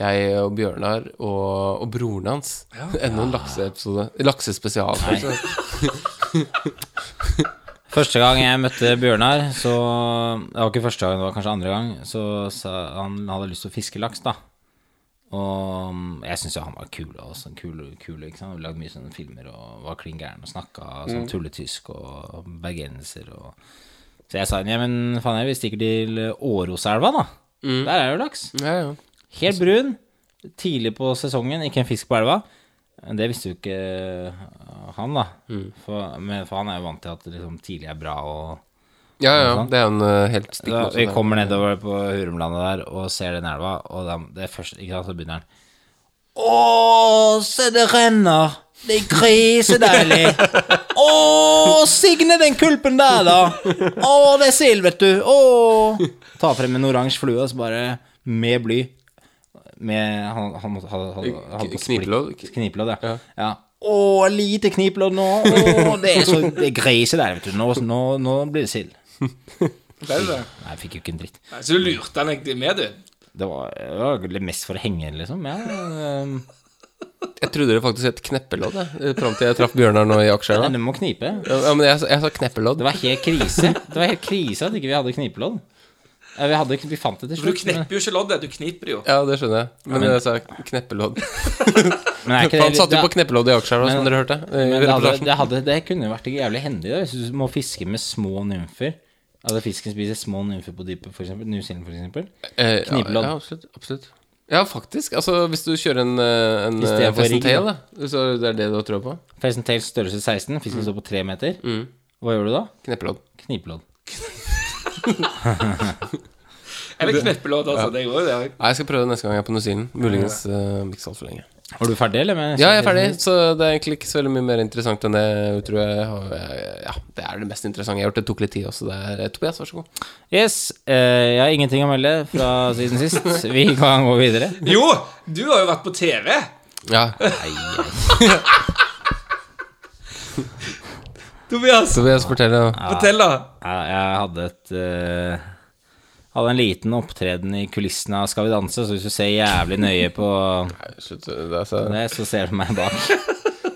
S6: Jeg og Bjørnar og, og broren hans. [laughs] Enda en lakseepisode. Laksespesial. kanskje.
S5: Første gang jeg møtte Bjørnar, så Det var ikke første gang, det var kanskje andre gang, så sa han han hadde lyst til å fiske laks, da. Og mm, jeg syns jo han var kul. og sånn kul, kul ikke sant? Vi lagde mye sånne filmer og var klin gæren og snakka sånn tulletysk og bergenser og Så jeg sa ja, men faen, jeg, vi stikker til Åroselva, da. Der er jo laks.
S6: Ja, ja.
S5: Helt brun, tidlig på sesongen, ikke en fisk på elva. Det visste jo ikke eh, han, da. For, men, for han er jo vant til at det liksom, tidlig er bra. Og,
S6: ja, ja. Det er en eh, helt stikk
S5: da,
S6: motsatt
S5: vi
S6: der.
S5: kommer nedover på Hurumlandet der og ser den elva, og da, det første, ikke sant, så begynner han Å, se det renner! Det er [laughs] grisedeilig! Å, Signe, den kulpen der, da! Å, det er sild, vet du! Å! Ta frem en oransje flue, og så bare Med bly. Med Han, han måtte ha, ha, ha
S6: K- knipelodd?
S5: Knipelodd, ja. ja. Å, lite knipelodd nå! Å, det er så det er grise der, vet du. Nå, nå, nå blir det
S6: [laughs]
S5: sild.
S7: Ble det det?
S5: Nei, jeg fikk jo ikke en dritt.
S7: Nei, Så du lurte han egentlig med, du?
S5: Det var, det var litt mest for å henge, liksom. Ja, ehm,
S6: Jeg trodde det faktisk het kneppelodd, jeg, eh, fram til jeg traff Bjørnar nå i
S5: [laughs]
S6: Akerselva.
S5: men du må knipe.
S6: Ja, men jeg, jeg sa kneppelodd.
S5: Det var helt krise. Det var helt krise at ikke vi hadde knipelodd. Ja, Vi, hadde, vi fant det til
S7: For du
S5: slutt. Men,
S7: knepper jo ikke loddet, du kniper det jo.
S6: Ja, det skjønner jeg. Men, jeg sa kneppelodd.
S5: men er ikke det
S6: Han
S5: litt-
S6: satt jo på
S5: det-
S6: kneppelodd i Akerselva, som
S5: Men-
S6: dere hørte. eh, i
S5: men det, Eh, hadde,
S6: reportasjen.
S5: det, hadde, det kunne jo vært jævlig hendig da, hvis du må fiske med små nymfer. At fisken spiser små nymfer på dypet, f.eks. New Zealand, f.eks.
S6: Eh,
S5: Knivbladd.
S6: Ja, ja, absolutt, absolutt. Ja, faktisk. Altså, hvis du kjører en, eh, en
S5: I stedet for
S6: Fest
S5: rigg,
S6: Tail, da. Så det er det du har trua på?
S5: Pheasant Tales størrelse 16,
S6: Mm.
S5: fisken står på 3 meter. Hva gjør du da?
S6: Kneppelodd.
S5: Knipelodd.
S7: Eller kneppelodd, altså. Det går jo, det.
S6: Nei, jeg skal prøve det neste gang jeg er på New Zealand. Muligens eh, ikke så altfor lenge.
S5: Var du ferdig, eller? Med
S6: Ja, jeg er ferdig, så det er egentlig ikke så veldig mye mer interessant enn det, tror jeg. Og, eh, Ja, det er det mest interessante jeg har gjort. Det tok litt tid også. Det er eh, Tobias, vær så god.
S5: Yes, eh, jeg har ingenting å melde fra siden
S6: [laughs]
S5: sist. Vi kan gå videre.
S7: Jo, du har jo vært på TV!
S6: Ja,
S7: Tobias,
S6: Tobias, fortell. da.
S7: fortell, da.
S5: Ja, jeg hadde et eh, Hadde en liten opptreden i kulissene av Skal vi danse, så hvis du ser jævlig nøye på
S6: Nei, Slutt. Det er så-
S5: det, så ser du meg bak.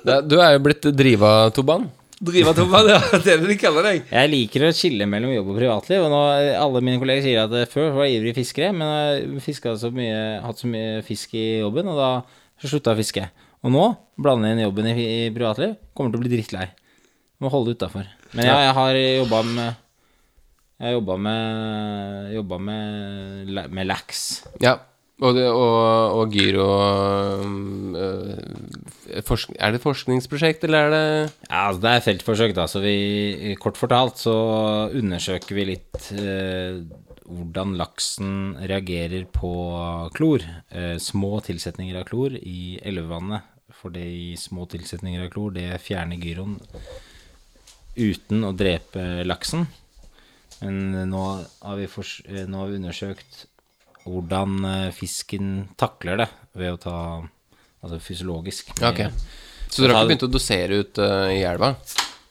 S6: Det er- Du er jo blitt driva, Toban.
S7: Drive Tobias, ja. [laughs] Det er det de kaller deg.
S5: Jeg liker å skille mellom jobb og privatliv. Og nå, alle mine kolleger sier at eh, før var jeg ivrige fiskere, men jeg fisket så mye, hatt så mye fisk i jobben, og da slutta jeg å fiske. Og nå blander jeg inn jobben i, i privatliv. Kommer til å bli drittlei. Må holde det utafor. Men ja, jeg har jobba med Jeg har jobba med, jobba med, la- med laks.
S6: Ja, og, det, og, og gyro øhm, øh, forsk, Er det forskningsprosjekt, eller er det
S5: Ja, altså det er feltforsøk, da. Så vi, kort fortalt så undersøker vi litt eh, hvordan laksen reagerer på klor. Eh, små tilsetninger av klor i elvevannet. Fordi små tilsetninger av klor, det fjerner gyroen uten å drepe laksen. Men eh, nå har vi, fors eh, nå har vi undersøkt hvordan eh, fisken takler det ved å ta Altså fysiologisk.
S6: Ja, ok. Så dere har ikke begynt å dosere ut øh, i elva?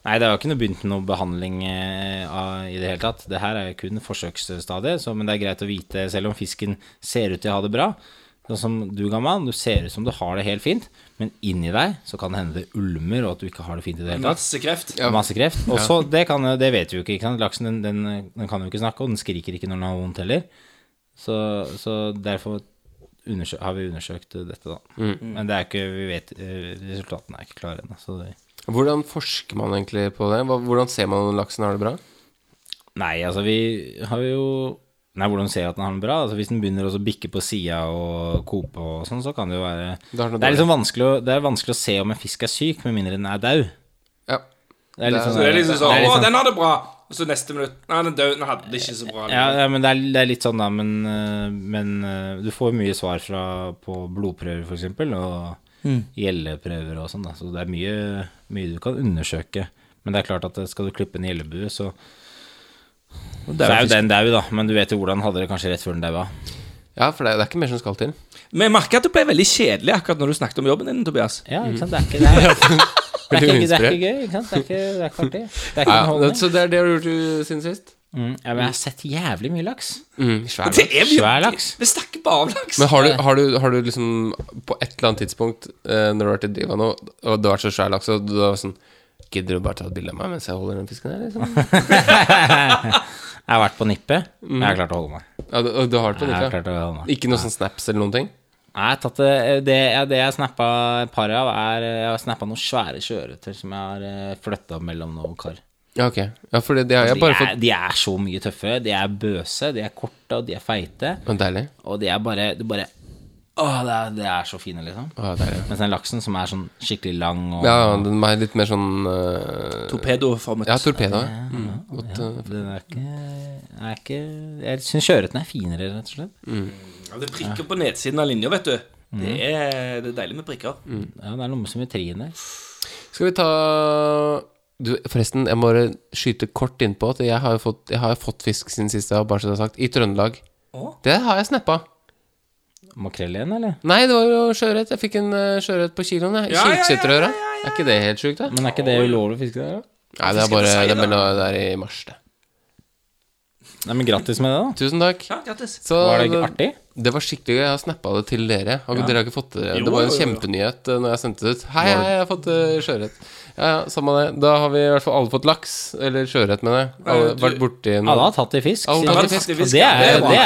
S5: Nei, det har jo ikke noe begynt med noe behandling eh, av, i det hele tatt. Det her er jo kun forsøksstadiet, så, men det er greit å vite, selv om fisken ser ut til å ha det bra, sånn som du, gammal, du ser ut som du har det helt fint, men inni deg så kan det hende det ulmer, og at du ikke har det fint i det hele tatt.
S7: Masse kreft.
S5: Masse kreft. Og så, det, kan, det vet vi jo ikke, ikke sant. Laksen den, den, den kan jo ikke snakke, og den skriker ikke når den har vondt heller. Så, så derfor undersø- har vi undersøkt dette, da. Men det er ikke, vi vet, eh, resultatene er ikke klare ennå. så det-
S6: Hvordan forsker man egentlig på det? Hva- Hvordan ser man om laksen har det bra?
S5: Nei, altså vi har jo Nei, hvordan ser jeg at den har den bra? Altså Hvis den begynner også å bikke på sida og kope og sånn, så kan det jo være
S6: Da er den
S5: Det er liksom vanskelig å, det er vanskelig å se om en fisk er syk, med mindre den er daud.
S6: Ja.
S5: Det er litt
S6: Så
S5: sånn
S7: Så det er liksom sånn
S5: det er litt
S7: 'Å,
S5: sånn-
S7: den har det bra', og så neste minutt 'Nei, den døde, den hadde det ikke så bra'.
S5: ja, ja, men det er, det er litt sånn, da, men, eh, men eh, du får mye svar fra, på blodprøver, f.eks., og gjelleprøver og sånn, da. Så det er mye, mye du kan undersøke. Men det er klart at eh, skal du klippe en gjellebue, så Det er jo den dau, da, men du vet jo hvordan hadde det kanskje rett før den daua.
S6: Ja, for det, det er ikke mer som skal til.
S7: Men jeg merker at du ble veldig kjedelig akkurat når du snakket om jobben din, Tobias.
S5: Ja, ikke [laughs] sant. Det er ikke [laughs] det. er- Det er ikke,
S6: Veldig
S5: det er
S6: uinspirert.
S5: ikke gøy. ikke sant? Det er ikke, det er ikke artig. Det er ikke
S6: Ja, ja,
S5: underholdning.
S6: så det er det du har gjort uh, siden sist?
S5: Mm, ja, men jeg har sett jævlig mye laks.
S6: Mm, svær
S7: Det er
S5: Svær laks.
S7: Vi snakker bare om laks.
S6: Men har du, har, du, har du liksom på et eller annet tidspunkt eh, når du har vært i Driva nå, og du har vært så svær laks, og du har vært sånn Gidder du bare ta et bilde av meg mens jeg holder den fisken her, liksom?
S5: Jeg har vært på nippet. Jeg har klart å holde meg.
S6: Ja, du, og du har
S5: Jeg har
S6: det Mm. på nytt,
S5: klart å holde meg.
S6: ja. Ikke noe sånn snaps eller noen ting?
S5: Nei, jeg har tatt det, det, ja, det jeg snappa et par av, er eh, Jeg har snappa noen svære sjøørreter som jeg har flytta mellom noen kar.
S6: Ja, ok. Ja, for det, det har jeg
S5: De
S6: bare
S5: er,
S6: fått
S5: de er så mye tøffere. De er bøse, de er korte, og de er feite.
S6: Å, Deilig.
S5: Og de er bare, det bare Å, det er, det er så fine, liksom.
S6: Å, ja, deilig.
S5: Mens den laksen som er sånn skikkelig lang og
S6: Ja, ja, den er litt mer sånn eh,
S7: Torpedoformet.
S6: Ja, torpedo. ja. Mm, godt, eh,
S5: Den er ikke, er ikke Jeg syns sjøørreten er finere, rett og slett.
S7: Ja, det prikker på nedsiden av linja, vet du.
S5: Mm.
S7: Det, er, det er deilig med prikker.
S5: Ja, det er noe med symmetrien der.
S6: Skal vi ta du, Forresten, jeg må bare skyte kort innpå at jeg har jo fått, jeg har jo fått fisk siden sist, jeg har bare så det er sagt, i Trøndelag.
S7: Å?
S6: Det har jeg snappa.
S5: Makrell igjen, eller?
S6: Nei, det var jo sjøørret. Jeg fikk en eh, sjøørret på kiloen, jeg. I
S7: Ja, ja, ja,
S6: Kyrksæterøra. Er ikke det helt sjukt, da?
S5: Men er ikke det ulovlig å fiske der, da?
S6: Nei, det er
S7: på
S6: bare
S7: seg,
S6: det er
S7: da.
S6: mellom det er i mars, det.
S5: Nei, men grattis med det, da.
S6: Tusen takk.
S7: Ja, grattis.
S6: Så
S5: Var det ikke artig?
S6: Det var skikkelig gøy. Jeg har snappa det til dere. Har Dere har ikke fått det? Det var en kjempenyhet eh, når jeg sendte det ut. Hei, hei, jeg har fått eh, sjøørret. Ja, ja, samme det. Da har vi i hvert fall alle fått laks. Eller sjøørret, mener jeg. Alle,
S7: du-
S6: vært borti en
S5: Alle har tatt i fisk.
S6: Alle
S5: siden
S6: har tatt i
S5: sist.
S6: fisk.
S5: Og Det er det er- det er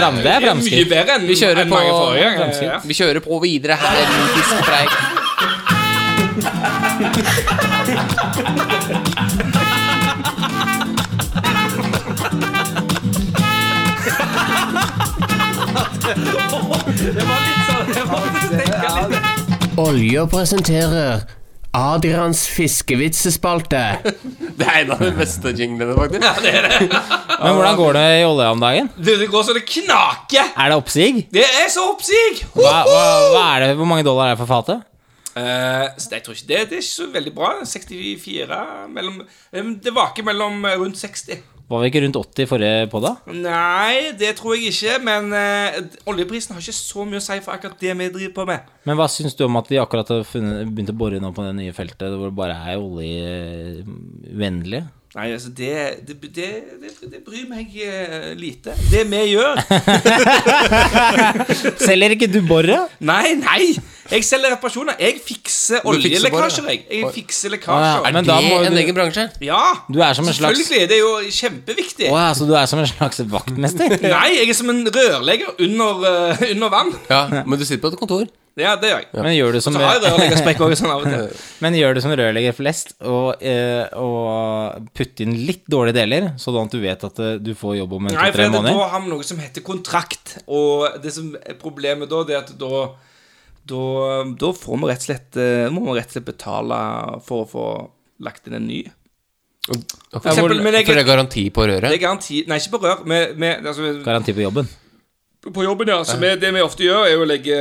S5: fram- det er
S7: Mye
S5: framskritt.
S7: bedre enn
S6: Vi kjører
S7: enn
S6: på-
S7: mange forrige gang.
S5: framskritt.
S7: Ja.
S6: Vi kjører på videre her. Fiskepreik. [laughs]
S9: Olja presenterer Adrians fiskevitsespalte.
S6: [laughs] Det er en av de beste jinglene, faktisk.
S5: Men hvordan går det i olja om dagen?
S7: Du, det går så det knaker!
S5: Er det oppsig?
S7: Det er så oppsig! Ho,
S5: Hva, hva,
S7: ho!
S5: hva er det, hvor mange dollar er det for fatet?
S7: Eh, så jeg tror ikke det, det er ikke så veldig bra. 64 mellom eh, Det vaker mellom eh, rundt 60.
S5: Var vi ikke rundt 80 forrige på da?
S7: Nei, det tror jeg ikke, men eh, oljeprisen har ikke så mye å si for akkurat det vi driver på med.
S5: Men hva syns du om at vi akkurat har funnet, begynt å bore nå på det nye feltet, hvor det bare er oljevennlige?
S7: Nei, altså, det, det, det, det, det bryr meg eh, lite. Det vi gjør
S5: Selger ikke du boret?
S7: Nei, nei! Jeg selger reparasjoner. Jeg fikser
S6: Du fikser bare,
S7: oljelekkasjer, jeg. Jeg fikser lekkasjer.
S5: Å, ja, men da må
S6: en
S5: du-
S6: egen bransje.
S7: Ja,
S5: Du er som en slags-
S7: Selvfølgelig, det er jo kjempeviktig.
S5: Å ja, så du er som en slags
S6: [laughs]
S5: vaktmester?
S7: Nei, jeg er som en rørlegger under, eh, under vann.
S6: Ja, Men du sitter på et kontor.
S7: Ja, det gjør jeg.
S5: Men gjør du
S7: Så
S5: som,
S7: har jeg rørleggersprekk også sånn av og til.
S5: [laughs] men gjør du som rørlegger flest, og, eh, og putte inn litt dårlige deler, sånn at du vet at eh, du får jobb om
S7: Nei, for
S5: en-tre
S7: det, da
S5: måneder?
S7: har vi noe som heter kontrakt, og det som er problemet da, det er at da da, da får vi rett og slett, eh, må vi rett og slett betale for å få lagt inn en ny.
S6: For
S7: Ja, hvor-
S6: eksempel, men jeg, for det er garanti på
S7: Det er
S6: røret.
S7: garanti Nei, ikke på rør. Med, med, altså,
S5: Garanti på jobben.
S7: På jobben, ja. Så vi, det vi ofte gjør, er jo å legge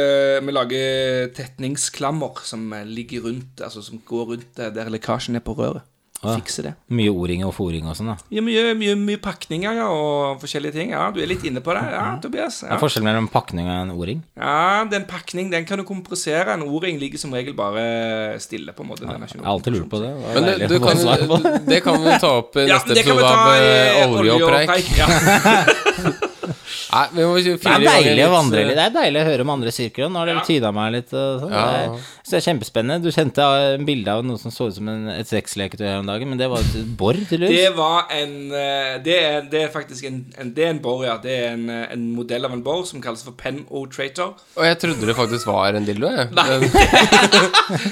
S7: Vi lager tetningsklammer som ligger rundt Altså som går rundt der- der lekkasjen er på røret. Fikse det.
S5: Mye o-ring og foring og sånn, da.
S7: Ja, mye, mye, mye pakninger ja, og forskjellige ting. Ja, du er litt inne på det. Ja, Tobias.
S5: Det
S7: Ja.
S5: er forskjell mellom pakning og en o-ring.
S7: ja, den pakning, den kan du kompressere. En O-ring ligger som regel bare stille, på en måte. Den er ikke
S5: Jeg
S7: noe
S5: har alltid lurt på det. det var
S6: Men
S5: deilig
S6: det, du
S5: [laughs] å få
S6: kan,
S5: svar på det.
S6: det kan vi ta opp i
S7: Ja,
S6: neste
S7: det kan vi
S6: episode
S7: ta
S6: av eh,
S7: i
S6: olje og preik.
S7: Ja.
S6: Nei, vi må jo
S5: Det er
S6: fire
S5: deilig å
S6: ganger
S5: vandre
S6: litt, eh,
S5: litt. Det er deilig å høre om andre sirkler. og Nå har dere tyda meg litt. Og sånn.
S6: Ja.
S5: det, er, så det er kjempespennende. Du sendte eh, en bilde av noe som så ut som en, et sexleketøy her om dagen, men det var et bor, tydeligvis.
S7: Det var en eh, Det er, det er faktisk en, en Det er en bor, ja. Det er en, eh, en modell av en bor som kalles for Pen O-Traitor.
S6: eh, Og jeg trodde det faktisk var en dildo, jeg.
S7: Nei.
S6: Men-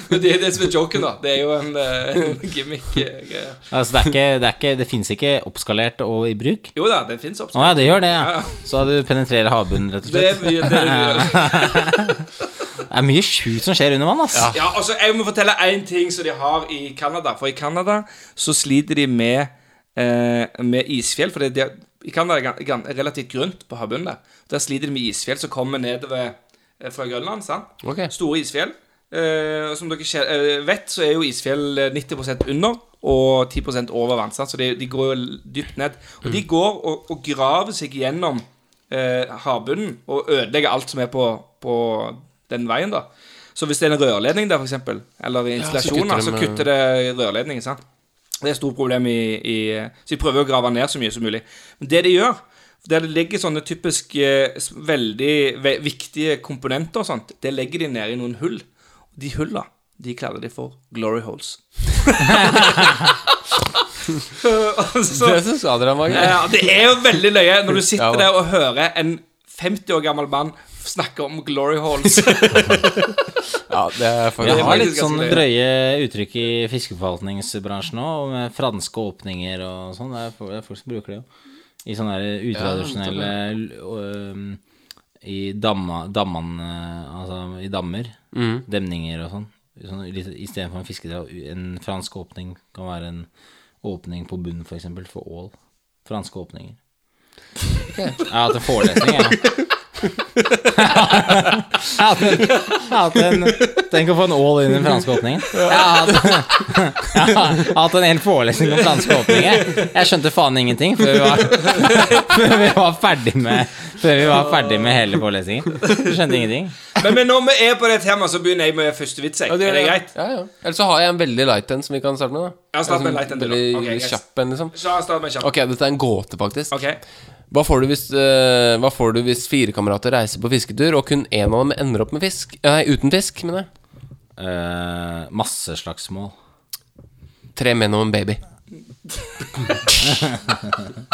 S7: Men det er det som er joken, da. Det er jo en, eh, en gimmick-greie.
S5: Altså, det er ikke, det, er ikke, det finnes ikke oppskalert og i bruk.
S7: Jo da, den fins
S5: Å
S7: oppskrift.
S5: ja, det gjør det, ja.
S7: Ja.
S5: Så du penetrerer havbunnen, rett og
S7: Det er
S5: slett.
S7: mye det du
S5: [laughs]
S7: gjør.
S5: Det er mye sjukt som skjer under vann, ass.
S7: Ja, og så Jeg må fortelle én ting som de har i Canada. For i Canada så sliter de med, eh, med isfjell. For det, det, i Canada er det gan- gan- relativt grunt på havbunnen der. Der sliter de med isfjell som kommer nedover eh, fra Grønland. sant?
S6: Ok.
S7: Store isfjell. Eh, og som dere kje- eh, vet, så er jo isfjell eh, 90 under og 10 over vannsats. Så de, de går jo dypt ned. Og
S6: Mm.
S7: de går og, og graver seg gjennom eh, havbunnen og ødelegger alt som er på, på den veien, da. Så hvis det er en rørledning der, for eksempel eller installasjoner,
S6: kutter de
S7: så
S6: med-
S7: kutter det rørledningen. sant? Det er et stort problem i, i Så de prøver å grave ned så mye som mulig. Men det de gjør, der det ligger sånne typisk eh, s- veldig ve viktige komponenter og sånt, det legger de ned i noen hull. Og de hulla, de kaller de for glory holes. [laughs] Og så-
S6: [laughs] Det syns Adrian var gøy.
S7: ja, det er jo veldig løye når du
S6: Ja,
S7: sitter
S6: da.
S7: der og hører en 50 år gammel mann snakke om glory holes. [laughs]
S6: Ja, det
S5: Jeg
S6: er
S7: Det
S6: faktisk
S7: var
S5: har litt
S7: faktisk
S5: sånn
S7: ganske
S5: drøye uttrykk i fiskeforvaltningsbransjen òg, med franske åpninger og sånn. Det er fo- det er folk som bruker det jo. I sånne der utradisjonelle øhm, I damma, dammene Altså i dammer. Demninger og sånn. sånn Istedenfor en fiskedrag. En fransk åpning kan være en åpning på bunnen, f.eks. For, eksempel, for ål. Franske åpninger. Jeg har hatt en forelesning, jeg. Jeg har hatt en- jeg har hatt en Tenk å få en all in i den franske åpningen. Jeg har hatt, jeg [laughs] har hatt en hel forelesning om franske åpninger. Jeg skjønte faen ingenting før vi var, [laughs] før vi var, ferdig, med, før vi var ferdig med hele forelesningen. Jeg skjønte ingenting.
S7: Men, men når vi er på det temaet, så begynner jeg med første vits. jeg. er det greit?
S6: Ja, ja. Eller så har jeg en veldig light en som vi kan starte med. da
S7: Ja, start med en
S6: En sånn
S7: light en, du, da.
S6: Veldig
S7: Ok, yes.
S6: kjapp en, liksom.
S7: Så start med en kjapp.
S6: Ok, dette er en gåte, faktisk.
S7: Ok. [laughs]
S6: Hva får du hvis, eh, hva får du hvis fire kamerater reiser på fisketur, og kun én av dem ender opp med fisk? Nei, uten fisk, mener jeg.
S5: Uh, Masseslagsmål.
S6: Tre menn og en baby.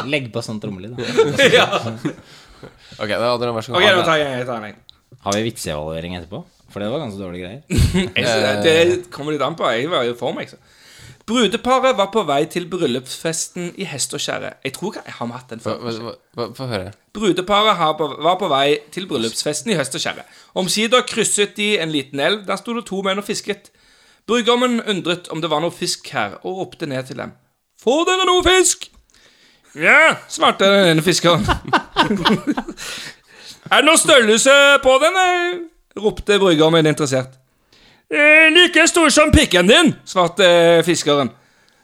S5: Legg på sånn trommelyd, da.
S6: Ok, da Adrian, vær så god.
S7: Ok, nå tar jeg jeg tar en.
S5: Har vi vitseevaluering etterpå? For det var ganske dårlige greier.
S7: Jeg synes Det det kommer litt an på. Jeg var jo for meg, så. Brudeparet var på vei til bryllupsfesten i hest og kjerre. Jeg tror ikke jeg har hatt den
S6: Hva-
S7: før.
S6: hva- hva- hva- Få høre.
S7: Brudeparet har på, var på vei til bryllupsfesten i høst og kjerre. Omsider krysset de en liten elv. Der sto det to menn og fisket. Brudgommen undret om det var noe fisk her, og ropte ned til dem. Får dere noe fisk? Ja, svarte den ene fiskeren. [laughs] er det noe størrelse på den? eh?» ropte brudgommen interessert. «Eh, Like stor som pikken din, svarte eh, fiskeren.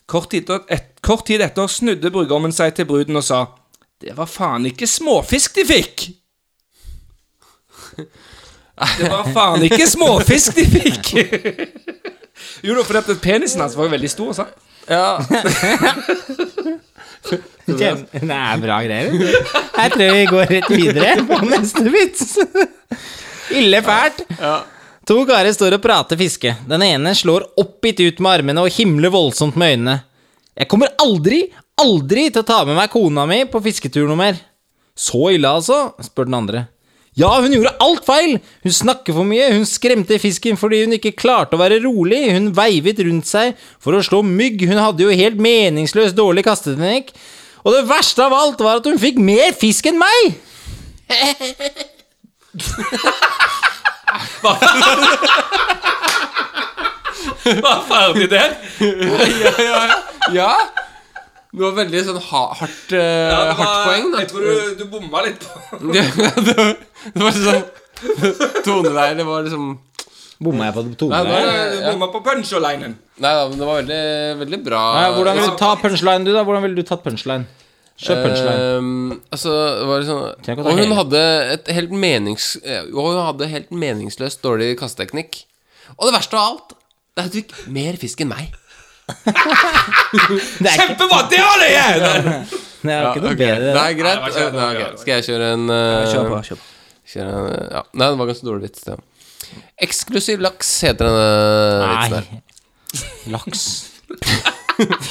S7: Kort tid, et, kort tid etter snudde brudgommen seg til bruden og sa Det var faen ikke småfisk de fikk! Det var faen ikke småfisk de fikk! jo da, for dette, penisen hans var jo veldig stor, sant?
S6: Ja,
S5: Det er bra greier. Jeg tror vi går rett videre på neste vits. Ille fælt. To karer står og prater fiske. Den ene slår oppgitt ut med armene og himler voldsomt med øynene. Jeg kommer aldri, aldri til å ta med meg kona mi på fisketur noe mer. Så ille, altså? spør den andre. Ja, hun gjorde alt feil! Hun snakker for mye, hun skremte fisken fordi hun ikke klarte å være rolig, hun veivet rundt seg for å slå mygg, hun hadde jo helt meningsløst dårlig kasteteknikk, og det verste av alt var at hun fikk mer fisk enn meg!
S7: Var ferdig der?
S6: ja. Det var veldig sånn ha hardt, eh, hardt poeng, da.
S7: Jeg
S6: [laughs]
S7: tror du, du bomma litt på
S6: det, det var- det var sånn [laughs] Toneleier, det var liksom
S5: Bomma jeg på
S6: Nei, det
S5: tonen?
S6: var,
S7: Du
S6: ja.
S7: bomma på punchlinen.
S6: Nei da, men det var veldig, veldig bra.
S5: Hvordan vil du ta punchline, du, da? Hvordan ville du tatt punchline? Kjør punchline.
S6: Ehm, altså, det var
S5: Tenk å
S6: sånn
S5: ta
S6: Og hun
S5: hele.
S6: hadde et helt menings... eh, Og hun hadde helt meningsløst dårlig kasteteknikk. Og det verste av alt, det er at hun fikk mer fisk enn meg.
S5: Det er ikke,
S7: Kjempebra! Det var det!
S5: det er ikke noe bedre.
S6: Nei, greit.
S7: Nei, det var ikke-
S6: Nei, ok. Skal jeg kjøre en eh,
S7: kjør på.
S6: kjøre en, eh, ja. Nei, det var ganske dårlig vits. det. Eksklusiv laks heter denne vitsen her.
S5: Nei. Laks. [laughs]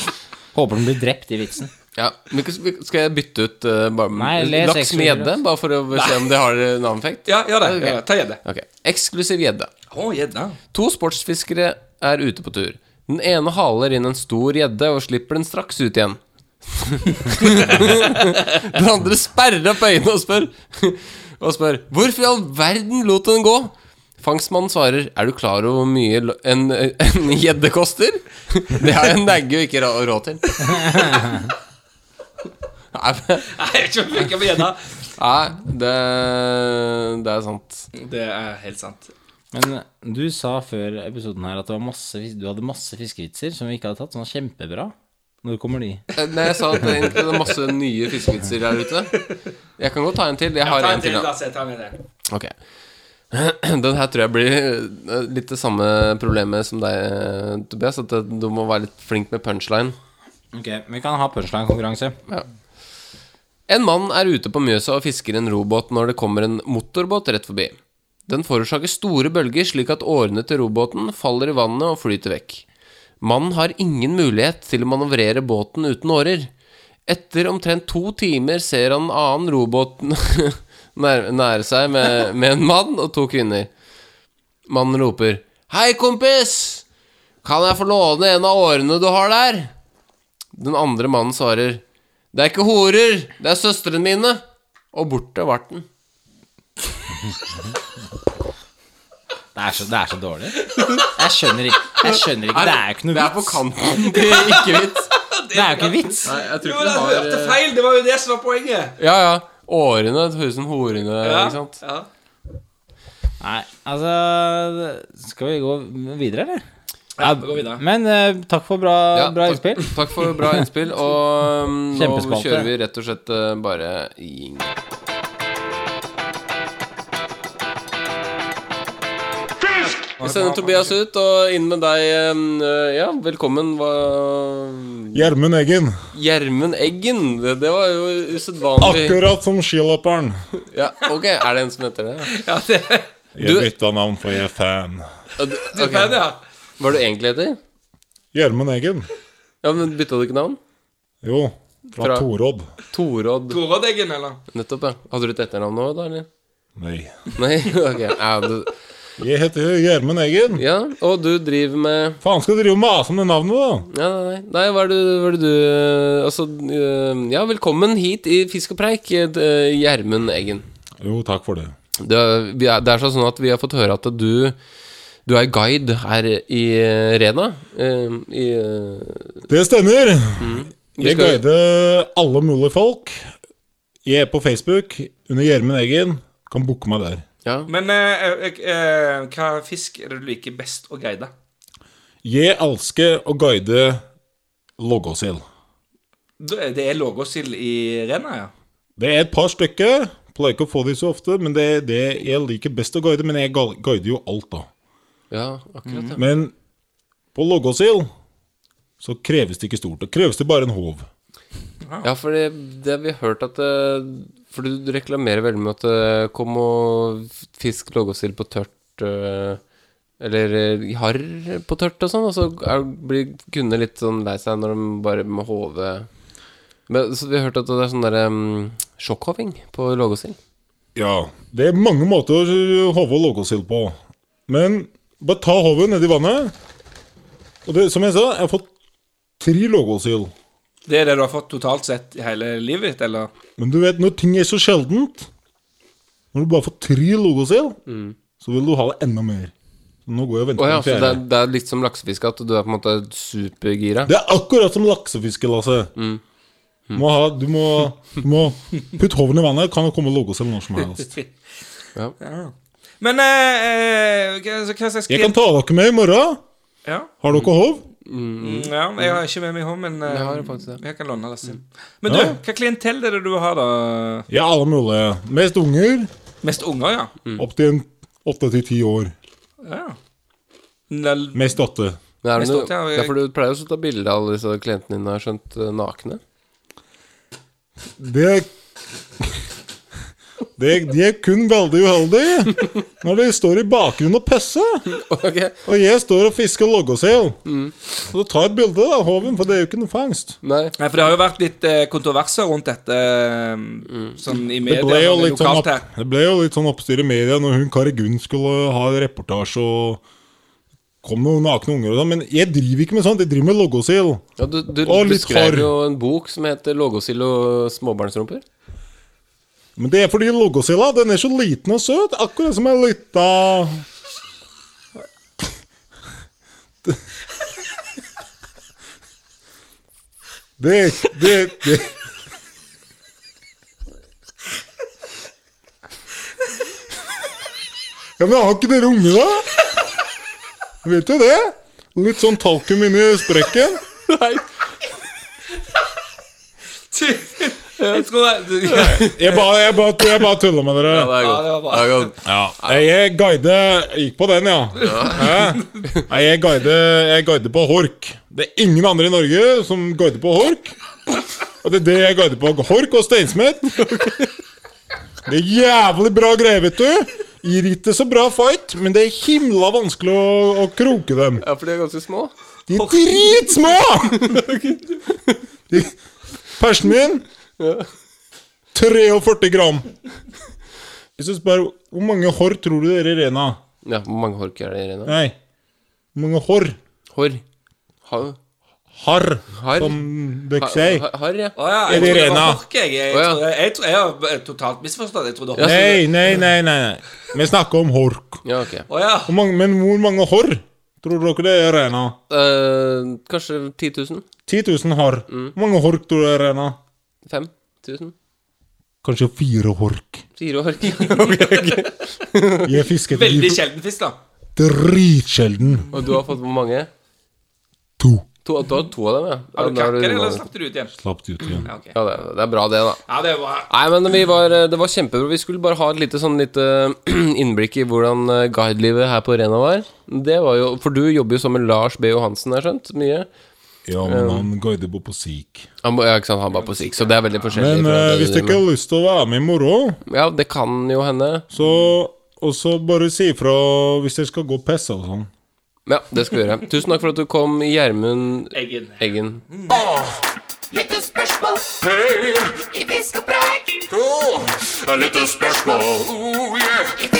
S5: Håper den blir drept i vitsen.
S6: Ja, men ikke- Skal jeg bytte ut eh, bare,
S5: Nei, les
S6: laks med
S5: eksklusiv
S6: gjedde?
S5: laks.
S6: Bare for å se om det har en effekt?
S7: Ja, gjør det. Gjør det. Ta gjedde.
S6: Ok, Eksklusiv gjedde.
S7: Å, gjedda.
S6: To sportsfiskere er ute på tur. Den ene haler inn en stor gjedde og slipper den straks ut igjen. [laughs] den andre sperrer opp øynene og spør, og spør Hvorfor i all verden lot du den gå? Fangstmannen svarer Er du klar over hvor mye lo- en en gjedde koster? Det har jeg negge ikke ra- råd til. Nei, men-
S7: Nei, jeg vet ikke om jeg funker på gjedda.
S6: Nei, det, det er sant.
S7: Det er helt sant.
S5: Men eh, du sa før episoden her at det var masse, fis- du hadde masse fiskevitser som vi ikke hadde tatt, som var kjempebra. Når kommer de?
S6: Eh, Nei, jeg sa at det egentlig er masse nye fiskevitser der ute. Jeg kan godt ta en til. Jeg har
S7: Ta
S6: en til. da.
S7: Lasse. Ta med det.
S6: Ok. [clears throat] Den her tror jeg blir eh, litt det samme problemet som deg, eh, Tobias. At det- du må være litt flink med punchline.
S5: Ok, Vi kan ha punchline-konkurranse.
S6: En mann er ute på Mjøsa og fisker en robåt når det kommer en motorbåt rett forbi. Den forårsaker store bølger slik at årene til robåten faller i vannet og flyter vekk. Mannen har ingen mulighet til å manøvrere båten uten årer. Etter omtrent to timer ser han en annen robåt [laughs] nær- nære seg med, med en mann og to kvinner. Mannen roper 'Hei, kompis! Kan jeg få låne en av årene du har der?' Den andre mannen svarer Det er ikke horer, det er søstrene mine Og borte var den
S5: Det er så, det er så dårlig. Jeg skjønner ikke. Jeg skjønner ikke. Det er jo ikke noe
S6: Det er på
S5: vits.
S6: kanten, [laughs] det er ikke vits
S5: Det er jo ikke vits.
S6: Nei, jeg
S7: Jo, da hørte feil! Det var eh, jo det som var poenget.
S6: Ja, ja, årene, det høres ut som horene Ikke sant?
S7: ja.
S5: Nei, altså Skal vi gå videre, eller?
S7: Ja, vi går videre.
S5: Men eh, takk for bra,
S6: Ja,
S5: bra
S6: takk-
S5: innspill.
S6: Takk for bra innspill Og um, nå
S5: Kjempespalte.
S6: kjører vi rett og slett eh, bare i Vi sender Tobias ut, og inn med deg um, eh, Ja, velkommen Hva,
S10: Gjermund Eggen.
S6: Gjermund Eggen, det, det var jo usedvanlig
S10: Akkurat som skiløperen.
S6: ja, Ok, er det en som heter det?
S7: Ja, det,
S10: Jeg
S6: Du-
S10: bytta navn, for jeg er fan.
S6: Ja, du-
S7: det
S6: ok.
S7: var det, ja.
S6: Hva er du egentlig heter?
S10: Gjermund Eggen.
S6: Ja, men Bytta du ikke navn?
S10: Jo, fra,
S6: Fra-
S10: Torodd.
S6: Torodd.
S7: Torodeggen, eller?
S6: Nettopp, ja. Hadde du et etternavn nå, da, eller?
S10: Nei.
S6: Nei, [laughs] ok. Ja, du,
S10: Jeg heter Gjermund Eggen.
S6: ja. og du driver med
S10: Faen skal du drive og mase om det navnet, da?
S6: Ja, nei, nei, hva er det, hva er det du eh, Altså, eh, ja, velkommen hit i Fisk og preik, eh, Gjermund Eggen.
S10: Jo, takk for det.
S6: Det, er- vi er, det er sånn at vi har fått høre at du du er guide her i eh, Rena. eh, I, eh,
S10: Det stemmer.
S6: Mm. vi
S10: Jeg
S6: skal-
S10: guider alle mulige folk. Jeg er på Facebook under Gjermund Eggen. Kan booke meg der.
S6: ja.
S7: Men eh, eh, eh, hva fisk er det du liker best å guide?
S10: Jeg elsker å guide loggåsild.
S7: eh, Det det er lågåsild i Rena, ja?
S10: Det er et par stykker. Pleier ikke å få de så ofte, men det er det jeg liker best å guide. Men jeg gal- guider jo alt, da.
S6: ja, akkurat, ja.
S10: Men på loggåsild så kreves det ikke stort. Det kreves det bare en håv.
S6: Ja, for det, det har vi hørt at eh, For du reklamerer veldig med at eh, Kom og fisk loggåsild på tørt eh, Eller eh, harr på tørt og sånn Og så er, blir kundene litt sånn lei seg Når de bare må hove Men så vi har hørt at det er sånn der um, Sjokkhoving på loggåsild
S10: Ja. Det er mange måter å håve loggåsild på. Men bare ta håven nedi vannet. Og det, som jeg sa, jeg har fått tre loggåsild.
S7: Det er det du har fått totalt sett i hele livet ditt, eller?
S10: Men du vet, når ting er så sjeldent Når du bare får tre loggåsild, så vil du ha det enda mer. Så nå går jeg og venter
S6: Åja,
S10: på
S6: Mm. så
S10: den
S6: det,
S10: fjerde.
S6: er- det er litt som laksefiske At du er på en måte supergira
S10: Det er akkurat som laksefiske, Lasse. Du Må ha, du må, du må putte hoven i vannet, kan det komme loggåsild når som helst.
S7: Men eh, eh, hva, så hva slags
S10: Jeg kan ta dere med i morgen.
S7: ja.
S10: Har dere håv?
S7: Mm, ja, jeg har ikke med meg hånd, men eh,
S6: Jeg har faktisk det.
S7: jeg kan låne det. Sim. Men du, hva klientell er det du har, da?
S10: Ja, alle mulige. Mest unger.
S7: Mest unger, ja?
S10: Opp til en åtte til ti år.
S7: ja. Nel-
S10: Mest åtte.
S6: Men er det,
S7: Jeg
S6: noe,
S7: står til,
S6: det
S7: jeg-
S6: er for du pleier også å ta bilder av alle disse klientene dine Har skjønt eh, nakne [laughs]
S10: Det det, De er kun veldig uheldige når de står i bakgrunnen og pisser.
S6: Ok
S10: Og jeg står og fisker loggåsel. Og så tar jeg et bilde av hoven, for det er jo ikke noe fangst.
S6: Nei
S7: Nei, for det har jo vært litt eh, kontroverser rundt dette eh, sånn i
S10: Det
S7: media
S10: ble, jo
S7: sånn
S10: litt sånn
S7: lokalt
S10: opp,
S7: her.
S10: det ble jo litt sånn oppstyr i media når hun Kari Gunn skulle ha en reportasje og kom noen nakne unger og sånn. Men jeg driver ikke med sånt. Jeg driver med loggåsild.
S6: Ja, du, du
S10: Og litt
S6: beskrev
S10: hår.
S6: jo en bok som heter 'Lågåsild og småbarnsrumper'.
S10: Men det er fordi loggåsilda, den er så liten og søt. Akkurat som ei lita Det, det, det Ja, men har ikke dere unger, da? Vet jo det. Litt sånn talkum inni sprekken.
S7: Jeg tror det, ja,
S10: Jeg bare, jeg bare, jeg bare tulla med dere.
S6: det er godt.
S7: det var bra.
S6: Det er godt.
S10: Nei, Jeg guide Gikk på den, ja. Hæ? Nei, jeg guide, jeg guide på hork. Det er ingen andre i Norge som guider på hork. Og det er det jeg guider på. Hork og steinsmett. Det er jævlig bra greier, vet du. Gir ikke så bra fight, men det er himla vanskelig å, å kroke dem.
S6: Ja, for de er ganske små.
S10: De er dritsmå! De, persen min 43 gram. Hvis du spør hvor mange hår tror du dere i Rena?
S6: Ja, Hvor mange hork er det i Rena?
S10: Nei. Hvor mange hår?
S6: Hår. Ha,
S10: Harr,
S6: Harr?
S10: som dere
S6: ha,
S10: sier.
S6: ha, har, ja.
S7: Å ja,
S10: Er
S7: jeg
S10: det
S7: trodde det
S10: Rena?
S7: var ork, jeg. Jeg,
S6: Å ja.
S7: trodde- jeg, tro- jeg har totalt misforstått. Jeg trodde ork.
S6: Ja.
S10: Nei, nei, nei. nei, nei. Vi snakker om hork.
S6: ja, ok.
S7: Å ja.
S10: Hvor mange, men hvor mange hår tror dere det er i Rena?
S6: Eh, kanskje 10 000?
S10: 10 000 hår. Hvor mange hork tror du det er i Rena?
S6: 5 000?
S10: Kanskje fire hork.
S6: Fire hork?
S10: Jeg fisket
S7: Veldig
S10: i
S7: sjelden fisk, da.
S10: dritsjelden.
S6: Og du har fått hvor mange?
S10: To.
S6: To, du har to av dem, ja.
S7: Har
S6: Ja,
S7: du
S6: da har du
S7: kakket, eller
S6: rundet.
S7: slapp du det ut igjen?
S10: Slapp det ut igjen.
S7: Ja, ok.
S6: ja det, det er bra, det, da.
S7: ja det er bra.
S6: Nei, men vi var, eh, det var kjempebra. Vi skulle bare ha et lite, sånn, lite [clears throat] innblikk i hvordan eh, guidelivet her på Rena var. Det var jo, For du jobber jo sammen med Lars B. Johansen, har jeg skjønt? Mye.
S10: Ja,
S6: Eh,
S10: men han guider på på sik.
S6: Han, må- ja, ikke sant, han var på sikk, så det er veldig forskjellig.
S10: Men
S6: fra
S10: eh,
S6: det
S10: hvis
S6: du
S10: du ikke
S6: driver
S10: har lyst til å være med i morgen,
S6: med. Ja, det kan jo hende.
S10: så og så bare si ifra hvis dere skal gå og pisse og sånn.
S6: Ja, det skal vi gjøre. Tusen takk for at du kom, Gjermund
S7: Eggen.
S6: Eggen.
S4: Det er litt spørsmål. Oh, yeah.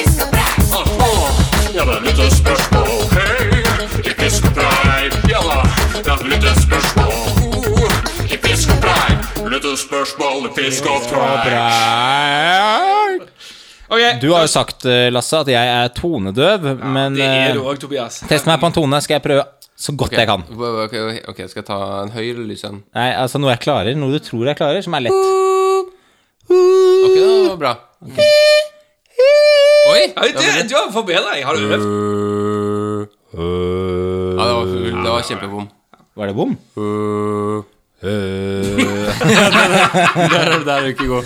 S4: Ja, det er litt spørsmål. Hei, i fiskepreik. Ja da, det er litt spørsmål. Oh, I fiskepreik. Litt spørsmål i fisk og preik.
S7: Ok,
S5: Du har jo sagt, eh, Lasse, at jeg er tonedøv, men
S7: det
S5: eh,
S7: er du òg, Tobias.
S5: test meg på en tone, skal jeg prøve så godt jeg kan.
S6: Ok, ok, skal jeg ta en høy eller lys en?
S5: Nei, altså noe jeg klarer, noe du tror jeg klarer, som er lett.
S6: Ok, det var bra. Oi!
S7: Oi, det, du har forbedret deg. Har du øvd?
S6: Ja, det var, det var
S7: [laughs]
S6: kjempebom. [laughs]
S5: Var det bom?
S6: Der er der er du ikke god.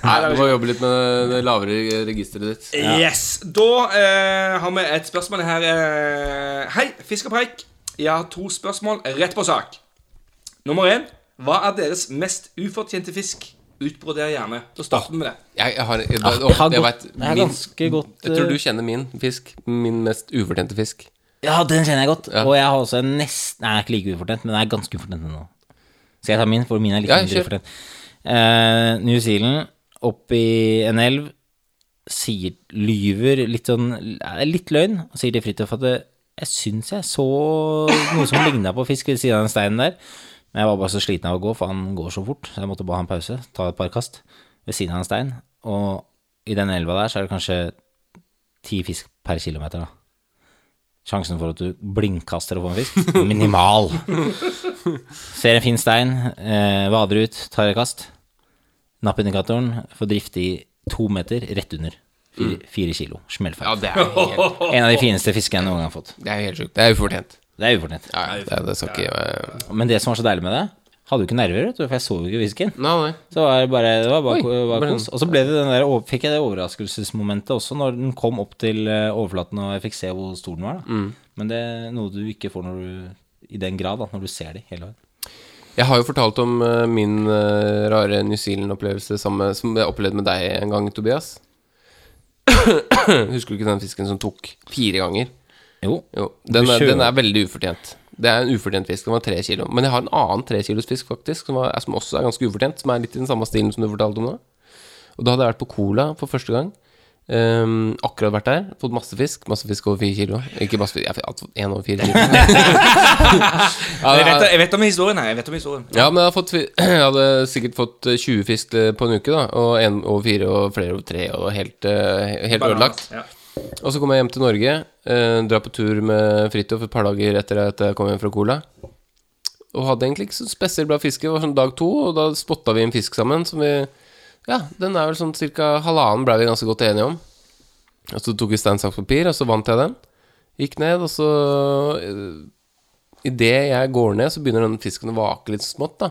S6: Nei, du må jobbe litt med det lavere registeret ditt.
S7: Yes. Da eh, har vi et spørsmål her. Eh, hei, Fisk og preik. Jeg har to spørsmål rett på sak. Nummer én. Hva er deres mest ufortjente fisk? Utbroder gjerne. Da starter vi med det.
S6: Jeg, jeg har, jeg, jeg,
S5: har
S6: jeg
S5: gått-
S6: vet,
S5: jeg har
S6: min-
S5: ganske godt,
S6: Jeg tror
S5: eh,
S6: du kjenner min fisk. Min mest ufortjente fisk.
S5: Ja, den kjenner jeg godt. Og jeg har også en nest... Nei, den er ikke like ufortjent, men den er ganske ufortjent nå. Skal jeg ta min, for min er litt
S6: Ja,
S5: mindre
S6: kjør.
S5: ufortjent. Eh, New Zealand, opp i en elv, sier, lyver litt sånn er Litt løgn, og sier til Fridtjof at det- jeg syns jeg så noe som ligna på fisk ved siden av den steinen der, men jeg var bare så sliten av å gå, for han går så fort, så jeg måtte bare ha en pause, ta et par kast ved siden av en stein, og i den elva der så er det kanskje ti fisk per kilometer, da sjansen for at du blindkaster og får en fisk, [laughs] minimal. Ser en fin stein, eh, vader ut, tar et kast. Nappindikatoren får drifte i to meter, rett under. Fire, fire kilo.
S6: Mm. Ja,
S5: Smellfeil.
S6: det er helt,
S5: En av de fineste fiskene jeg noen gang har fått.
S6: [laughs] det er helt sjukt. Det er ufortjent.
S5: Det er ufortjent.
S6: Ja, ja, det, det skal ikke eh,
S5: Men det som var så deilig med det, hadde jo ikke nerver, vet du, for jeg så jo ikke fisken.
S6: Nei, nei.
S5: Så var det bare, det var bare,
S6: Oi,
S5: bare
S6: bare
S5: kos. Og så ble det den der, over- fikk jeg det overraskelsesmomentet også når den kom opp til eh, overflaten og jeg fikk se hvor stor den var. Da. Men det er noe du ikke får når du, i den grad da, når du ser de hele veien.
S6: Jeg har jo fortalt om eh, min eh, rare New Zealand-opplevelse som, som jeg opplevde med deg en gang, Tobias. [coughs] Husker du ikke den fisken som tok fire ganger?
S5: Jo.
S6: Jo, den
S5: Du
S6: er,
S5: kjører.
S6: den er veldig ufortjent. Det er en ufortjent fisk. Den var tre kilo. Men jeg har en annen trekilos-fisk, faktisk, som, var, som også er ganske ufortjent. Som er litt i den samme stilen som du fortalte om nå. Og da hadde jeg vært på Cola for første gang. Ehm, akkurat vært der. Fått masse fisk. Masse fisk over fire kilo. Ikke masse fisk, jeg har fått én over fire kilo.
S5: [laughs]
S6: Ja,
S7: Jeg vet,
S6: ja,
S7: jeg vet om historien her. Jeg vet om historien.
S6: ja, men jeg, har fått, fi- [clears throat] jeg hadde sikkert fått eh, 20 fisk eh, på en uke, da. Og én over fire, og flere over tre, og helt, eh, helt ødelagt.
S7: Ja.
S6: Og så kom jeg hjem til Norge, eh, drar på tur med Fridtjof et par dager etter at jeg kom hjem fra Cola. Og hadde egentlig ikke så spesielt bra fiske. Det var sånn dag to, og da spotta vi en fisk sammen som vi Ja, den er vel sånn cirka halvannen ble vi ganske godt enige om. Og så tok vi stein, saks, papir, og så vant jeg den. Gikk ned, og så eh, i Idet jeg går ned, så begynner den fisken å vake litt smått, da.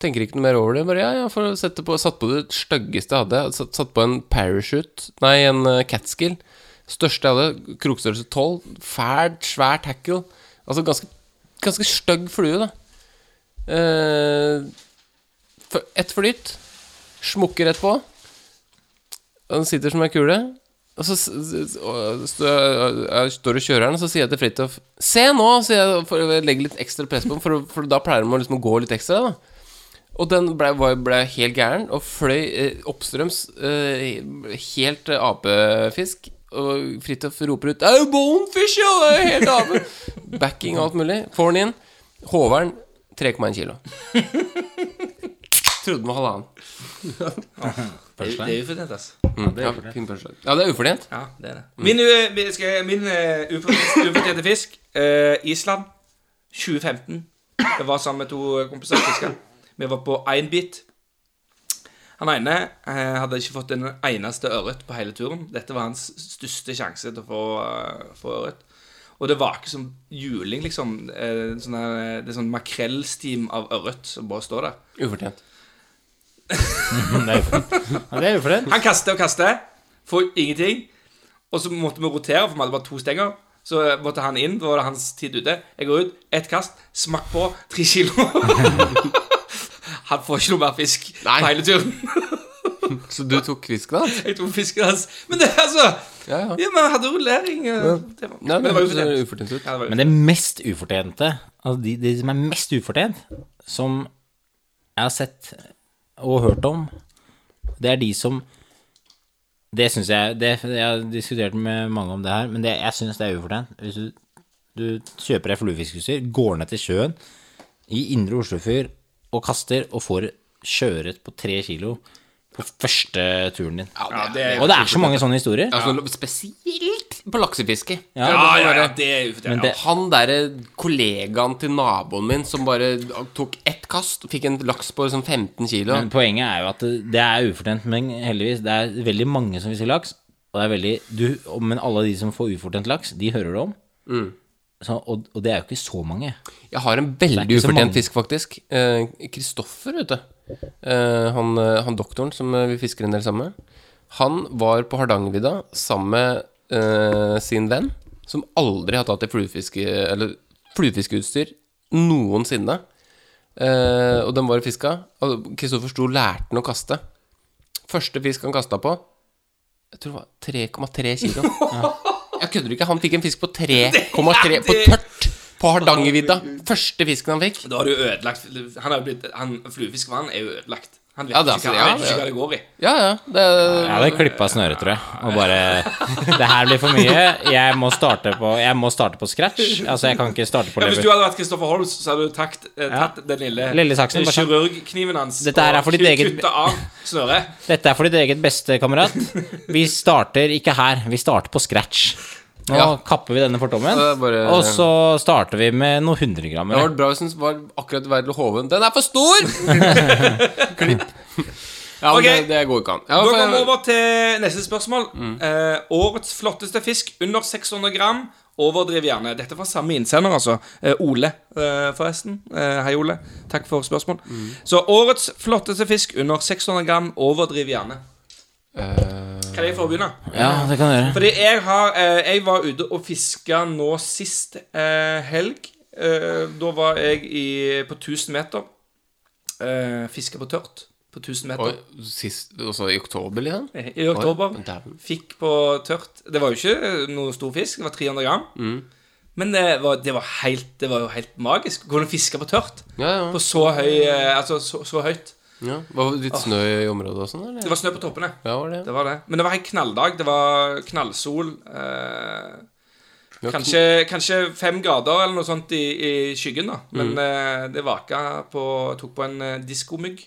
S6: Tenker ikke noe mer over det. Bare ja, ja, får sette på Satt på det styggeste jeg hadde. Satt, satt på en parachute, nei, en eh, catskill. Største jeg hadde, krokstørrelse 12. Fælt, svær tackle. Altså ganske, ganske stygg flue, da. Eh, f- Ett flyt. Smukker rett på. Han sitter som ei kule. Og så s- s- og stå- jeg står og kjører den, og så sier jeg til Fridtjof Se nå! sier jeg, for jeg legger litt ekstra press på den, for, for da pleier de å liksom gå litt ekstra. da og den ble, var- ble helt gæren og fløy eh, oppstrøms eh, helt eh, apefisk. Og Fridtjof roper ut 'Au, bonefish, ja! Det er helt ape!' [laughs] Backing og alt mulig. Får den inn. Håveren 3,1 kilo.
S7: [laughs]
S6: Trodde den var halvannen.
S7: Det, det er ufortjent, Mm. altså.
S6: Mm. Ja, fin punchline. ja, det er ufortjent.
S7: Ja, det er det. Min, u- vi skal- min eh, ufortjente ufortjente fisk, eh, Island, 2015. Jeg var sammen med to kompiser fisker. Vi var på én bit. Han ene eh, hadde ikke fått en eneste ørret på hele turen. Dette var hans største sjanse til å få, eh, få ørret. Og det vaker som juling, liksom. Eh, sånn her- det er sånn makrellstim av ørret som bare står der.
S6: Ufortjent.
S5: [laughs] Ja, det er ufortjent.
S7: Han kaster og kaster, får ingenting. Og så måtte vi rotere, for vi hadde bare to stenger. Så måtte han inn, da var det hans tid ute. Jeg går ut, ett kast, smakk på, tre
S6: [laughs]
S7: kilo. han får ikke noe mer fisk
S6: Nei.
S7: på hele turen.
S6: Så du tok fisken, da?
S7: Jeg tok fisken hans. Men det, altså
S6: Ja, ja.
S7: Ja, men han hadde rullering. eh, Det var,
S6: Nei,
S7: men det var jo
S6: hørtes
S7: fortjent.
S6: ufortjent ut.
S7: Ja, det var
S5: Men det mest ufortjente, altså de, de som er mest ufortjent, som jeg har sett og hørt om, det er de som Det syns jeg det, Jeg har diskutert med mange om det her, men det, jeg syns det er ufortjent. Hvis du, du kjøper deg fluefiskeutstyr, går ned til sjøen i indre Oslofjord og kaster, og får sjøørret på tre kilo på første turen din.
S7: ja, det er,
S5: og det er så mange sånne historier.
S6: Altså, spesielt på laksefiske.
S5: Ja.
S7: ja, ja, ja, det er
S5: Men
S7: ufortjent.
S5: det-
S7: Ja.
S6: Han derre kollegaen til naboen min som bare tok ett kast, fikk en laks på sånn 15 kilo.
S5: Men poenget er jo at det, det er ufortjent, men heldigvis. Det er veldig mange som fisker laks. Og det er veldig, du, og- men alle de som får ufortjent laks, de hører det om. Så, og, og det er jo ikke så mange.
S6: Jeg har en
S5: Det er
S6: veldig
S5: ikke så mange.
S6: ufortjent fisk, faktisk. Kristoffer, vet du. Eh, han, eh, han doktoren som eh, vi fisker en del sammen med. Han var på Hardangervidda sammen med eh, sin venn, som aldri har tatt i fluefiske, eller fluefiskeutstyr noensinne. Eh, og den var og fiska. Og Kristoffer sto og lærte den å kaste. Første fisk han kasta på, jeg tror det var 3,3 kilo. Jeg kødder ikke. Han fikk en fisk på
S7: [laughs]
S6: 3,3 på tørt på Hardangervidda. Første fisken han fikk.
S7: Da har du ødelagt Han er jo blitt han, Fluefiskmannen er jo ødelagt. Han vet
S6: Ja, det er
S7: ikke
S6: altså-
S7: hva- han
S6: ja,
S7: vet ikke
S6: ja.
S7: hva det går i.
S6: Ja, ja. Det,
S5: Jeg hadde klippa snøret, tror jeg. Og bare [laughs] Det her blir for mye. Jeg må starte på, jeg må starte på scratch. Altså, jeg kan ikke starte på
S7: Ja, hvis du
S5: lever.
S7: hadde vært Kristoffer Holmes, så hadde du takt, eh, tatt den lille,
S5: Lille saksen,
S7: eh,
S5: bare sånn.
S7: kirurgkniven hans
S5: Dette her er for ditt
S7: ku-
S5: eget-
S7: kutta av
S5: [laughs]
S7: snøret.
S5: Dette er for ditt eget beste, kamerat. Vi starter ikke her, vi starter på scratch. Nå
S6: Ja.
S5: kapper vi denne fortommen,
S6: Det er bare-
S5: og så starter vi med noen
S6: det
S5: hundregrammer.
S6: var bra hvis den var akkurat i vei til å håve den. Den er
S7: [laughs]
S6: for stor! Klipp. Ja, men
S7: Ok.
S6: det, det går ikke an. Ja,
S7: Nå
S6: for-
S7: går vi over til neste spørsmål.
S5: Mm.
S7: Eh, årets flotteste fisk under 600 gram. Overdriv gjerne. Dette er fra samme innsender, altså. Eh, Ole, eh, forresten. Eh, hei, Ole. Takk for spørsmål.
S5: Mm.
S7: Så årets flotteste fisk under 600 gram. Overdriv gjerne.
S6: Eh,
S7: Kan jeg få begynne?
S5: Ja, det kan du gjøre.
S7: Fordi jeg har eh, Jeg var ute og fiska nå sist eh, helg. Eh, da var jeg i, på 1000 meter. Eh, fiska på tørt på 1000 meter.
S6: Oi, sist, også i oktober, liksom?
S7: Eh, I oktober.
S6: Oi, dæven.
S7: Fikk på tørt. Det var jo ikke eh, noe stor fisk, det var 300 gram.
S6: Mm.
S7: Men det var, det, var helt, det var jo helt magisk. Gå og fiske på tørt.
S6: Ja, ja.
S7: På så høy eh, Altså så, så høyt.
S6: ja. Var det litt snø i området og sånn,
S7: Det
S6: eller?
S7: var snø på toppene.
S6: Ja, var det.
S7: Det var det. Men det var en knalldag. Det var knallsol. Eh,
S6: Ja,
S7: kanskje, kanskje fem grader eller noe sånt i, i skyggen, da. Men eh, det vaka på Tok på en eh, diskomygg.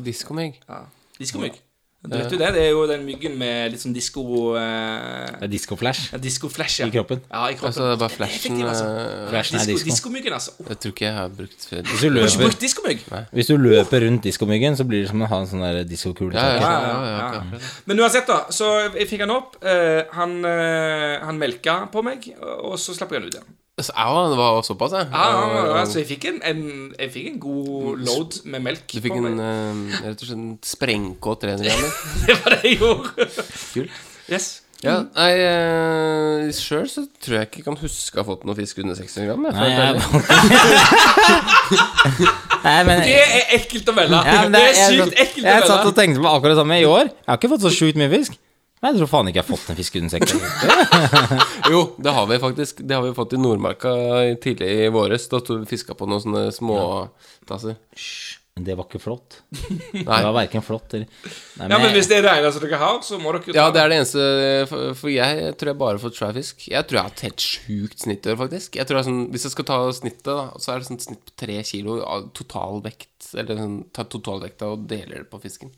S6: Diskomegg.
S7: Ja. Diskomygg. Du vet jo det, det er jo den myggen med litt sånn disko eh,
S5: Det er discoflash.
S7: ja, Disko-flash, ja.
S5: I kroppen.
S7: Ja, i kroppen.
S6: Altså, det er bare flashen,
S7: effektiv, altså.
S6: eh,
S5: Flashen er
S7: Disko-
S5: disco.
S7: Diskomyggen, altså. Oh,
S6: Jeg tror ikke jeg har brukt før.
S5: Hvis du
S7: Har ikke
S5: løper,
S7: brukt diskomygg?
S5: hvis du løper rundt discomyggen, så blir det som å ha en sånn der liksom. diskokule. i
S6: Ja, ja,
S5: taket.
S6: ja, ja, ja,
S7: Ja. Men uansett, da. Så jeg fikk han opp. eh, han, eh, han melka på meg, og så slapp jeg han ut igjen.
S6: Så, au, det var såpass, ja.
S7: Ja, ja, ja, ja, så altså, jeg fikk en, en, jeg fikk en god load med melk.
S6: Eh, Du fikk
S7: på meg.
S6: en eh, rett og slett en sprengkåt trenerhjerne.
S7: [laughs]
S6: [laughs]
S7: Det var det jeg gjorde.
S6: Kult.
S7: Yes.
S6: Ja, nei, uh, sjøl så tror jeg ikke jeg kan huske å ha fått noe fisk under 600 gram. Jeg, for
S5: Nei,
S6: å være
S5: jeg-
S6: ærlig.
S5: [laughs] Nei, men,
S7: Det er ekkelt å melde.
S5: ja, men
S7: det, er
S5: jeg- sånn-
S7: sykt ekkelt
S5: Jeg
S7: å
S5: satt og
S7: melde.
S5: tenkte på akkurat det samme i år. Jeg har ikke fått så sjukt mye fisk. Nei, jeg tror faen ikke jeg har fått en fisk under sekken.
S6: Jo, det har vi faktisk. Det har vi fått i Nordmarka i- tidlig i våres. Da sto vi fiska på noen sånne småtasser.
S5: Men det var ikke flott.
S6: Nei.
S5: Det var verken flott eller Nei,
S7: Ja, men hvis det er det eneste dere har, så må dere jo
S6: Ja, det er det eneste For, for jeg tror jeg bare har fått svær fisk. Jeg tror jeg har hatt helt sjukt snitt i år, faktisk. Jeg tror jeg, er sånn, hvis jeg skal ta snittet, da, så er det sånn snitt på tre kilo av total vekt. Eller sånn, ta totalvekta og deler det på fisken.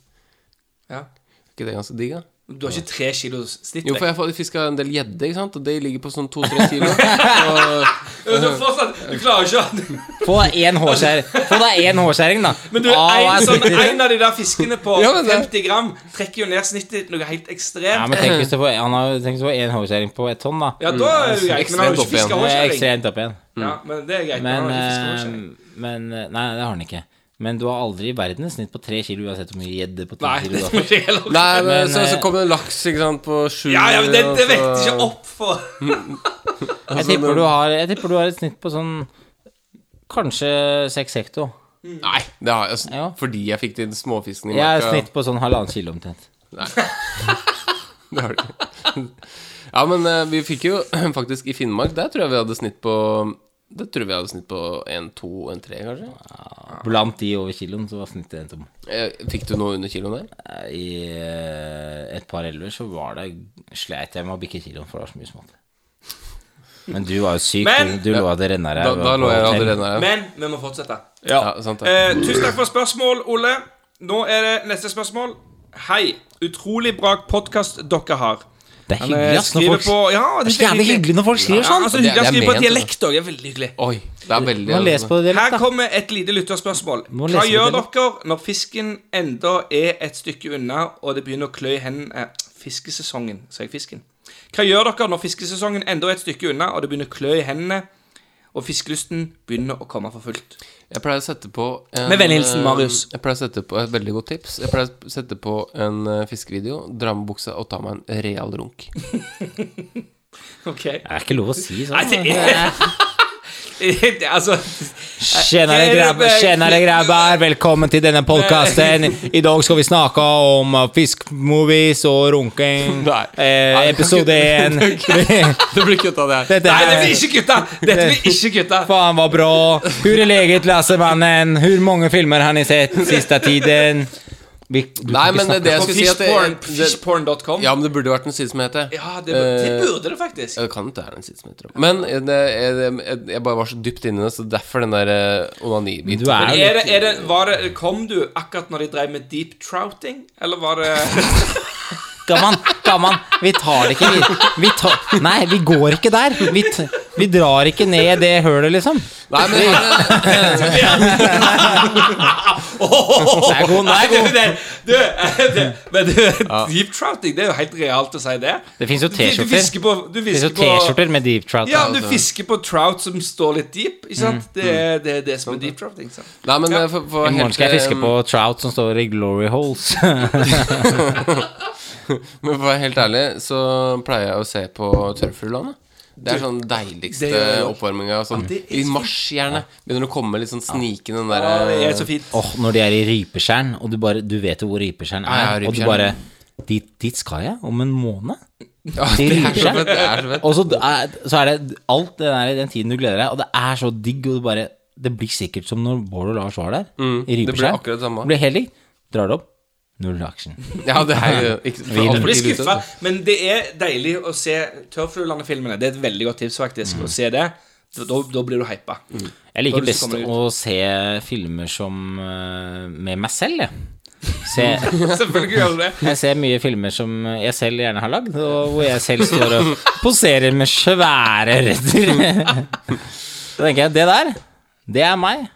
S7: Ja.
S6: Er ikke det ganske digg, da?
S7: Du har ikke tre kilos snitt?
S6: Jo, for
S7: jeg...
S6: jeg fiska en del gjedde, ikke sant, og det ligger på sånn to-tre
S5: [laughs]
S6: kilo. Og,
S7: du, er [laughs] fortsatt, du klarer ikke å [laughs]
S5: Få deg én hårskjæring, Få deg én hårskjæring, da.
S7: Men du,
S5: Ah,
S7: en,
S5: hva er
S7: sånn,
S5: snitt i det?
S7: en av de der fiskene på
S6: Ja, men det-
S7: 50 gram trekker jo ned snittet noe helt ekstremt.
S5: ja, men tenk hvis du får, han har, tenk hvis du får én hårskjæring på ett tonn, da.
S7: Ja, da er det jo greit, men han har jo
S6: Ekstremt
S7: ikke
S6: opp igjen.
S7: fiska
S5: Det er
S7: hårskjæring.
S5: ekstremt opp igjen.
S7: Ja, men det er greit. Men,
S5: Men,
S7: han har ikke fisket
S5: eh,
S7: hårskjæring.
S5: men eh, Nei, det har han ikke. Men du har aldri i verden et snitt på tre kilo, uansett hvor mye gjedde på ti
S7: Nei,
S5: kilo.
S7: det
S5: du har
S7: [laughs] tror
S5: fått.
S7: jeg heller ikke.
S6: nei, men,
S5: Men,
S6: så, så
S5: eh,
S6: kom det en laks, ikke sant, på sju
S7: Ja, ja, men det, det
S6: og
S7: vet
S6: så-
S7: ikke opp for Altså,
S5: Jeg tipper du har, jeg tipper du har et snitt på sånn Kanskje seks hekto.
S6: Nei, det har, altså,
S5: Ja.
S6: fordi jeg fikk den småfisken i
S5: Jeg har et
S6: marka.
S5: snitt på sånn halvannen kilo omtrent.
S6: Det har du. Ja, men eh, vi fikk jo [clears throat] faktisk i Finnmark Der tror jeg vi hadde snitt på Det tror jeg vi hadde snitt på 1, 2, 1, 3 kanskje
S5: Blant de over kiloen så var snittet en tom.
S6: Eh, Fikk du noe under kiloen der?
S5: Eh, I eh, et par elver så var det sleit jeg med å bikke kiloen, for det var så mye smått. Men du var jo syk.
S7: Men-
S5: du, du lå at det renna
S6: Da,
S5: ræv.
S6: da lå jeg allerede der
S7: Men vi må fortsette.
S6: ja. sant det
S7: Eh, tusen takk for spørsmål, Ole. Nå er det neste spørsmål. Hei. Utrolig bra podkast dere har.
S5: Det er
S7: Han, eh,
S5: hyggelig, ass. Når
S7: skriver
S5: folk,
S7: på Ja,
S5: det er så jævlig hyggelig når folk
S7: Ja,
S5: skriver sånn.
S7: altså,
S6: Det er-
S7: hyggelig. Han
S6: det er
S7: skriver på
S6: ment,
S7: dialekt
S5: altså.
S7: òg. Det er veldig hyggelig.
S6: Oi, det er veldig altså-
S5: Man leser på det litt,
S7: Her
S5: da.
S7: kommer et lite lytterspørsmål.
S5: Må
S7: Hva
S5: lese
S7: gjør
S5: litt.
S7: dere når fisken enda er et stykke unna, og det begynner å klø i hendene eh, Fiskesesongen, sa jeg fisken. Hva gjør dere når fiskesesongen enda er et stykke unna, og det begynner å klø i hendene, og fiskelysten begynner å komme for
S6: [laughs]
S7: fullt?
S6: Jeg pleier å sette på en,
S7: Med vennlig hilsen, Marius.
S6: eh, Jeg pleier å sette på Et veldig godt tips Jeg pleier å sette på en eh, fiskevideo Dra med buksa og ta meg en real runk
S7: Ok.
S5: Det er ikke lov å si sånn.
S7: Nei, det er Det- [laughs] altså eh,
S5: Tjenere grabbar, tjenere grabbar, velkommen til denne podkasten. I dag skal vi snakke om fiskmovies og runking. Eh, episode én.
S6: Det blir kuttet av det her
S5: Dette
S7: Nei, det blir
S5: er
S7: ikke kutta! Dette blir ikke kutta.
S5: Faen, var bra. Hvor er leget, Lassemannen? Hvor mange filmer har ni sett siste tiden? Vi, du kan
S6: Nei,
S5: ikke
S6: men
S5: snakke
S6: det jeg
S7: På
S6: skulle si at det,
S7: fishporn-
S6: det,
S7: fishporn.com.
S6: Ja, men det burde vært en side som heter
S7: Ja, det, det
S6: Eh,
S7: burde det faktisk.
S6: Ja, det kan ikke være en side som heter det. Men eh, det, jeg, jeg, jeg bare var så dypt inni det, så derfor den der eh, onanibiten.
S5: Du er
S7: Er det, er det, var det, kom du akkurat når de drev med deep trouting, eller var det
S5: [laughs] Gamman, gamman, vi tar det ikke vi, vi tar, Nei, vi går ikke der. Vi, t vi drar ikke ned det hølet, liksom.
S6: Nei, men [laughs] eh,
S5: Det er god, det er
S7: Nei,
S5: god.
S7: det, det, det, det, Men du, deep trouting, det er jo helt realt å si det.
S5: Det fins jo
S7: Du, du
S5: T-skjorter.
S7: fisker på Du
S5: Det finnes jo
S7: fisker på
S5: T-skjorter Altså. med deep trout.
S7: ja, du fisker på trout som står litt deep. Ikke
S5: Mm,
S7: sant? Det, er, det er det som er deep trouting. sant?
S6: nei, men eh, for, for
S5: I morgen skal jeg fiske på trout som står i glory holes. [laughs]
S6: Men for å være helt ærlig, så pleier jeg å se på tørrfuglene. Det er sånn deiligste
S7: det gjør jeg også.
S6: oppvarminga. Sånn,
S7: det er
S6: I
S7: så
S6: mars, gjerne. Begynner å komme litt sånn snikende
S5: Eh,
S6: den eh,
S7: Å, det
S6: derre
S7: er så fint.
S5: Åh, Når de er i rypeskjæren, og du, bare, du vet jo hvor rypeskjæren
S6: Ja, ja,
S5: er, og du
S6: rypeskjæren.
S5: bare dit, dit skal jeg om en måned.
S6: [laughs] ja, Det er så fett. Det er så fett.
S5: Og så, er- så er det alt det der, den tiden du gleder deg, og det er så digg, og du bare Det blir sikkert som når Bård og Lars var der, i
S6: Mm, det blir
S5: rypeskjæren.
S6: akkurat det samme.
S5: Det blir helt likt. Drar det opp. Null action.
S6: Ja, det er jo ikke, for
S5: Vil-
S6: alt
S7: Jeg blir
S6: blir
S7: skuffa,
S6: ute.
S5: altså.
S7: men det er deilig å se Tørrfuglene-filmene. Det er et veldig godt tips, faktisk, å se det. Da, da, da blir du hypa.
S5: Mm. Jeg
S7: Da har
S5: liker
S7: du lyst
S5: best
S7: til å komme deg
S5: å se filmer som eh, med meg selv, jeg. ser,
S6: [laughs]
S7: [laughs] Selvfølgelig gjør du det.
S5: jeg ser mye filmer som jeg selv gjerne har lagd, og hvor jeg selv står og poserer med svære røtter. [laughs] Så tenker jeg, det der, det er meg.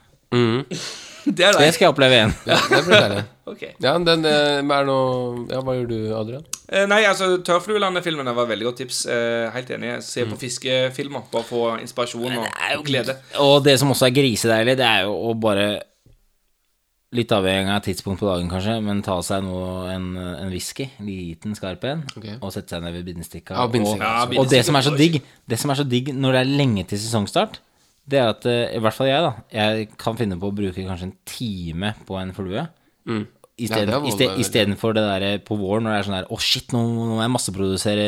S7: Det er
S5: Det
S7: deg.
S5: skal jeg oppleve igjen.
S6: Ja, det blir deilig.
S7: Ok.
S6: Ja, den eh, er noe Ja, hva gjør du, Adrian?
S7: Eh, nei, altså, Tørrfluelandet-filmene var veldig godt tips. Eh, helt enig. Se
S6: Mm.
S7: på fiskefilmer. Bare få inspirasjon og, og glede.
S5: Og det som også er grisedeilig, det er jo å bare Litt avhengig av tidspunkt på dagen, kanskje, men ta seg nå en, en whisky, en liten skarp en,
S6: Ok.
S5: og sette seg ned ved bindestikka.
S6: Ja, bindestikka,
S5: og,
S6: ja,
S5: og det som er så digg, det som er så digg når det er lenge til sesongstart, det er at eh, i hvert fall jeg, da, jeg kan finne på å bruke kanskje en time på en flue. I
S6: Ja, det
S5: stedet-
S6: er
S5: i sted-
S6: voldelig.
S5: Istedenfor det der på våren når det er sånn der Å, shit, nå, nå må jeg masseprodusere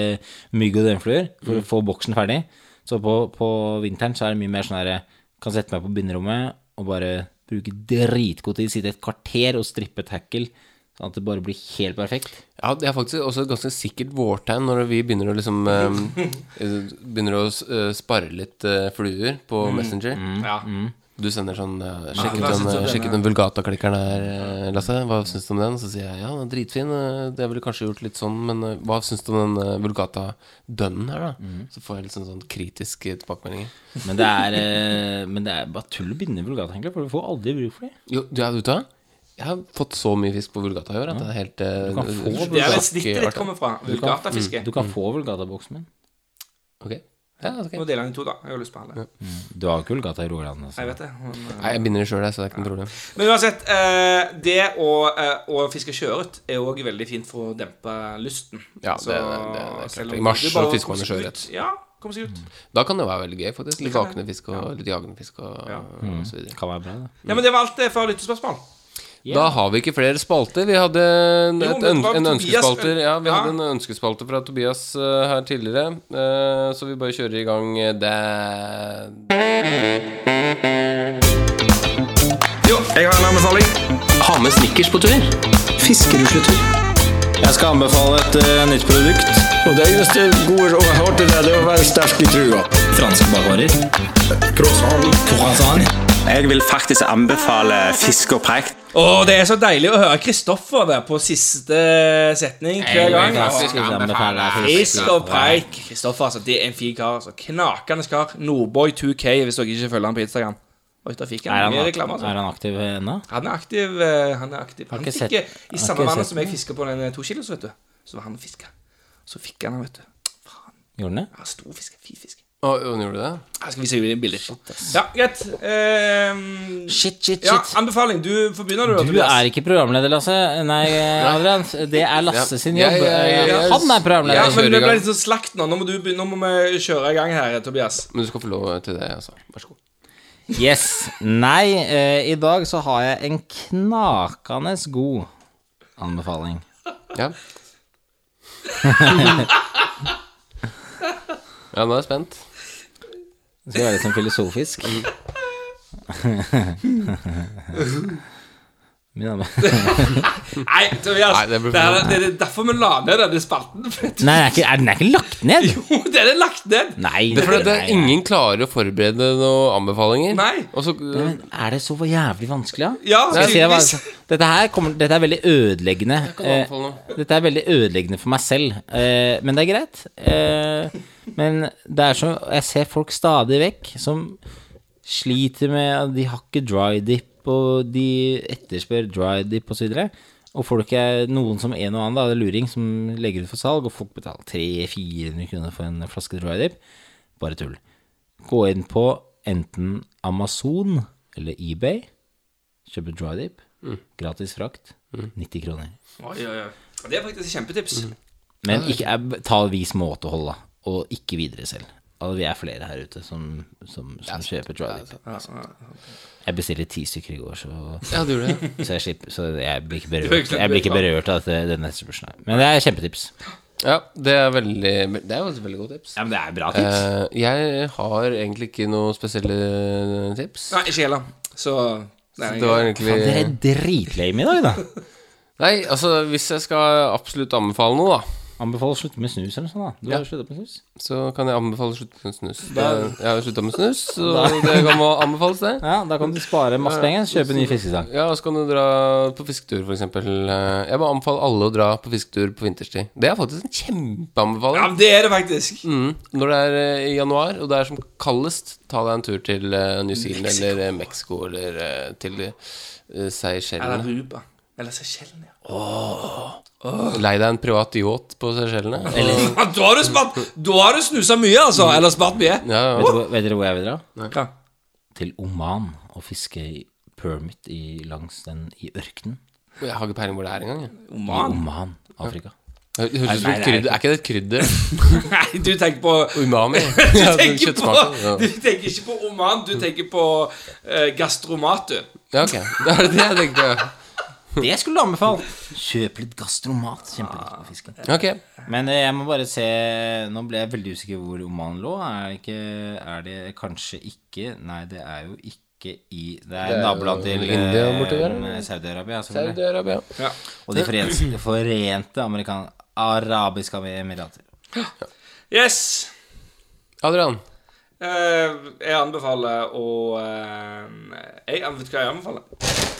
S5: mygg og døgnfluer for å få boksen ferdig. Så på, på vinteren så er det mye mer sånn der Kan sette meg på binderommet og bare bruke dritgod tid, sitte et kvarter og strippe tackle, sånn at det bare blir helt perfekt.
S6: Ja, det er faktisk også et ganske sikkert vårtegn når vi begynner å liksom eh, [laughs] Begynner å eh, spare litt eh, fluer på
S7: Mm.
S6: Messenger.
S7: Ja.
S6: Du sender sånn eh, Sjekk ut
S7: Mm. hva
S6: den,
S7: synes du om
S6: eh, sjekk
S7: den,
S6: ut den Vulgata-klikkeren her, eh, Lasse. Hva syns du om den? Så sier jeg ja, den er dritfin. eh, Det ville kanskje gjort litt sånn, men eh, hva syns du om den eh, Vulgata-dønnen her, da?
S7: Mm.
S6: Så får jeg litt sånn, sånn kritisk eh, tilbakemeldinger.
S5: Men det er, eh, men det er bare tull å binde vulgata, egentlig, for du får aldri bruk for det.
S6: Jo, du er ute? Jeg har fått så mye fisk på Vulgata i år at det er helt eh,
S5: Du kan få
S6: sjokkert
S7: Det er vel snittet ditt
S6: artig.
S7: kommer fra. Vulgatafiske.
S5: Du kan få vulgataboksen min.
S6: Ok. Ja, ok.
S7: Må dele den i to, da. Jeg har lyst på alle.
S5: Du har ikke vulgata i Rogaland, altså.
S7: Jeg vet det. Men, eh,
S6: Nei, jeg binder det sjøl, så det er ikke noe problem.
S7: Men uansett, eh, det å, eh, å fiske sjøørret er òg veldig fint for å dempe lysten.
S6: Ja, det- det- det er klart. I mars
S7: det er bare
S6: så
S7: å
S6: fisker man
S7: komme
S6: jo
S7: seg ut.
S6: sjøørret. Mm.
S7: Ja, komme seg ut.
S6: Da kan det være veldig gøy, faktisk. Litt
S7: kan det.
S6: vakende fisk og litt jagende fisk og, og så videre.
S5: Kan være bra, det.
S7: Ja, men det var alt eh, for lyttespørsmål.
S6: Da har vi ikke flere spalter. Vi hadde en,
S7: Jo,
S6: et,
S7: men
S6: øn,
S7: det var
S6: en
S7: Tobias-
S6: ønskespalter Ja, vi
S7: Ja.
S6: hadde en ønskespalte fra Tobias eh, her tidligere, eh, så vi bare kjører i gang eh, det
S7: Jo, jeg har en anbefaling.
S6: Ha med snickers på tur!
S5: Jeg skal anbefale et nytt produkt. Og det eneste gode rådet jeg har til det, det er å være sterk i trua. Franske bakvarer. Croissant.
S11: Jeg vil faktisk anbefale fisk og preik.
S7: Å, det er så deilig å høre Kristoffer der på siste setning hver gang.
S5: Fantastisk
S7: Å,
S5: anbefale
S7: Fisk og preik. Kristoffer altså, det er en fin kar. altså Knakende kar. Nordboy2k, hvis dere ikke følger han på Instagram. Oi, da fikk
S5: Er
S7: han
S5: han,
S7: mye reklame. altså.
S5: er han aktiv ennå?
S7: Han er aktiv. eh, Han er aktiv Han
S5: ikke
S7: fikk
S5: sett-
S7: eh,
S5: har
S7: I
S5: ikke
S7: samme vannet
S5: sett
S7: som jeg fisker på den eh, to kilos, vet du. Så var han og fiska. Så fikk han den, vet du. Faen.
S5: Gjorde han det?
S7: Ja, stor fisk. Fin fisk.
S6: Å, hun gjorde det?
S7: Her skal vi se ut i bilder. Ja, greit. Ehm,
S5: Shit, shit,
S7: ja,
S5: shit.
S7: anbefaling. Du får begynne, du.
S5: Du er ikke programleder, Lasse. Nei, Adrian. Det er Lasse sin jobb. Eh,
S6: Jeg- jeg- jeg-
S5: Han er
S7: ja,
S5: programleder.
S7: men
S6: Jeg kjører i
S7: vi ble
S6: gang.
S7: litt sånn slakt nå. Nå må, du, begynne- nå må vi kjøre i gang her, Tobias.
S6: Men du skal få lov til det, altså. Vær så god.
S5: Yes. Nei, eh, i dag så har jeg en knakende god anbefaling.
S7: [laughs]
S6: Ja. ja, nå er jeg spent.
S5: Det skal være litt sånn [laughs] filosofisk. Min anbe-
S7: Nei, Tobias.
S6: Nei, det blir for
S7: det, er, det er derfor vi la ned denne spalten. for at-
S5: Nei, den er ikke, er- den er ikke lagt ned!
S7: [laughs] Jo, den er lagt ned.
S5: Nei.
S6: Det er fordi at det
S5: nei,
S6: er ingen klarer å forberede noen anbefalinger.
S7: Nei.
S6: Og så
S5: nei. Men er det så jævlig vanskelig, da?
S7: Ja,
S5: Skal jeg si deg hva-
S7: tydeligvis.
S5: altså, dette, her kommer, dette er veldig ødeleggende.
S6: kan du anbefale noe?
S5: Eh, dette er veldig ødeleggende for meg selv, eh, men det er greit. Eh, men det er så Jeg ser folk stadig vekk som sliter med at De har ikke dry dip, og de etterspør dry dip osv. Og folk er noen som en og annen, da, det er luring, som legger ut for salg, og folk betaler 300-400 kroner for en flaske dry dip. Bare tull. Gå inn på enten Amazon eller eBay. Kjøpe dry dip. Gratis frakt. 90 kroner.
S7: Oi, oi, oi. Det er faktisk et kjempetips.
S5: Men ikke, eh, ta vis måtehold, da. Og ikke videre selv. Altså, vi er flere her ute som, som, som kjøper dry dip. Jeg bestilte ti stykker i går, så
S6: Ja, du gjorde det.
S5: så jeg, slipper, så jeg blir ikke
S7: Du er ikke
S5: berørt,
S7: slett
S5: jeg blir ikke
S7: berørt
S5: berørt av dette, denne etterspørselen. her. Men det er kjempetips.
S6: Ja, det er veldig Det er jo et veldig godt tips.
S5: Ja, men det er bra
S6: Eh, jeg har egentlig ikke noe spesielle eh, tips.
S7: Nei, ikke heller. Så nei,
S6: Det var
S5: Dere
S6: egentlig
S5: er dritlame i dag, da.
S6: Nei, altså hvis jeg skal absolutt anbefale noe, da
S5: Anbefaler å slutte med snus eller noe sånt. da Du har sluttet med snus?
S6: Så kan jeg anbefale å slutte med snus. Det,
S5: Da-
S6: jeg har slutta med snus, og det kan må anbefales, det.
S5: Ja, Da kan du spare masse penger kjøpe ny fiskestang.
S6: Ja, og så kan du dra på fisketur, for eksempel. Eh, Jeg bare anbefaler alle å dra på fisketur på vinterstid. Det er faktisk en kjempeanbefaling.
S7: Ja, men det er det faktisk.
S6: Mm. Når det er eh, i januar, og det er som kaldest, ta deg en tur til eh, New Zealand eller eh, Mexico eller eh, til eh,
S7: Eller
S6: Seychellene.
S7: Ruba. Eller Seychellene. ja.
S6: Lei deg en privat yacht på Seychellene. Eller
S7: Ja, [laughs] Da har du spart Da har du snusa mye, altså. Eller spart mye.
S6: ja,
S5: Vet, du hvor- vet dere hvor jeg vil dra?
S7: Hva?
S5: Til Oman og fiske i permit i, langs den i ørkenen.
S6: Jeg har ikke peiling hvor det er engang. jeg.
S7: Oman?
S5: Oman, Afrika.
S6: Det Høres ut som
S5: Nei,
S6: et
S5: nei,
S6: krydder. Er ikke det et krydder?
S7: [laughs]
S6: [laughs]
S7: Nei, du tenker på
S6: Umami.
S7: Du
S6: [laughs] Ja, den
S7: tenker på
S6: kjøttsmaken, ja.
S7: [laughs] Du tenker ikke på Oman, du tenker på eh, gastromat, du.
S6: Ja, ok. [laughs] Det er det jeg tenkte. ja.
S5: [laughs] Det skulle du anbefalt! Kjøp litt gastromat. Kjempegodt på fisken.
S6: Ok.
S5: Men eh, jeg må bare se Nå ble jeg veldig usikker hvor Oman lå. Er det, ikke, er det kanskje ikke Nei, det er jo ikke i Det er,
S6: er jo
S5: naboland til eh,
S6: India borti der, eller?
S5: Saudi-Arabia. selvfølgelig.
S6: Saudi-Arabia.
S5: Og de forente, de forente amerikan- arabiske emirater.
S7: Yes.
S6: Adrian.
S7: Eh, jeg anbefaler å eh, Jeg an- Vet du hva jeg anbefaler?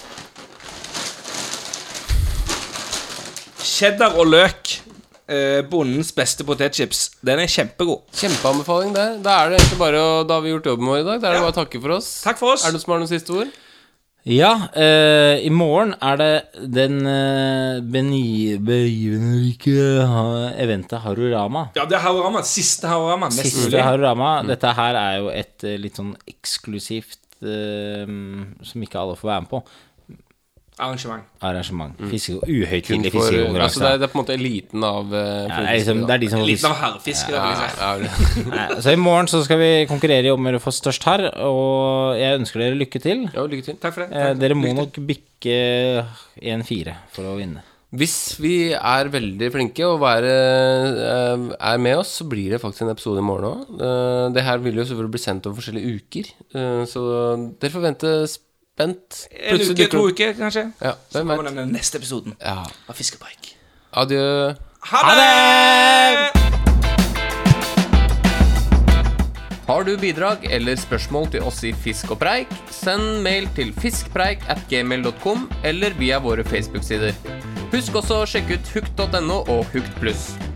S7: Cheddar og løk. eh, bondens beste potetchips. Den er kjempegod.
S6: Kjempeanbefaling der. Da er det egentlig bare å, Da har vi gjort jobben vår i dag. Da er det bare å takke for oss.
S7: Takk for oss.
S6: Er det noen som har noen siste ord?
S5: Ja, eh, i morgen er det den eh, beni- begivenhetsrike ha- eventet Harurama.
S7: Ja, det er Haurama. Siste Haurama. Mest
S5: Siste
S7: mulig.
S5: Harurama. Dette her er jo et eh, litt sånn eksklusivt eh, som ikke alle får være med på.
S7: arrangement.
S5: Arrangement. Fiske, uhøytidelig
S6: For, altså, det,
S5: fiskekonkurranse.
S6: er, det er på en måte eliten av eh,
S5: Ja, det, er liksom, det er de som
S7: Liten
S5: fisker.
S7: av herrefiskere. vil jeg si.
S6: ja, ja.
S5: Nei, Så i morgen så skal vi konkurrere i om å få størst her, og jeg ønsker dere lykke til.
S6: ja, lykke til.
S7: Takk for det.
S5: Eh,
S7: Takk.
S5: dere må nok bikke 1-4 for å vinne.
S6: Hvis vi er veldig flinke og være, eh, er med oss, så blir det faktisk en episode i morgen òg. det her vil jo selvfølgelig bli sendt over forskjellige uker, eh, så dere får vente spent.
S7: En uke, to uker, kanskje.
S6: Ja,
S7: Så
S6: hvem
S7: kommer
S6: vet.
S7: den neste episoden
S6: Ja.
S7: av Fiskepreik.
S6: Adjø.
S7: Ha det!
S6: Har du bidrag eller spørsmål til oss i Fisk og preik, send mail til fiskpreik at gmail.com eller via våre Facebook-sider. Husk også å sjekke ut hukt.no og Hukt pluss.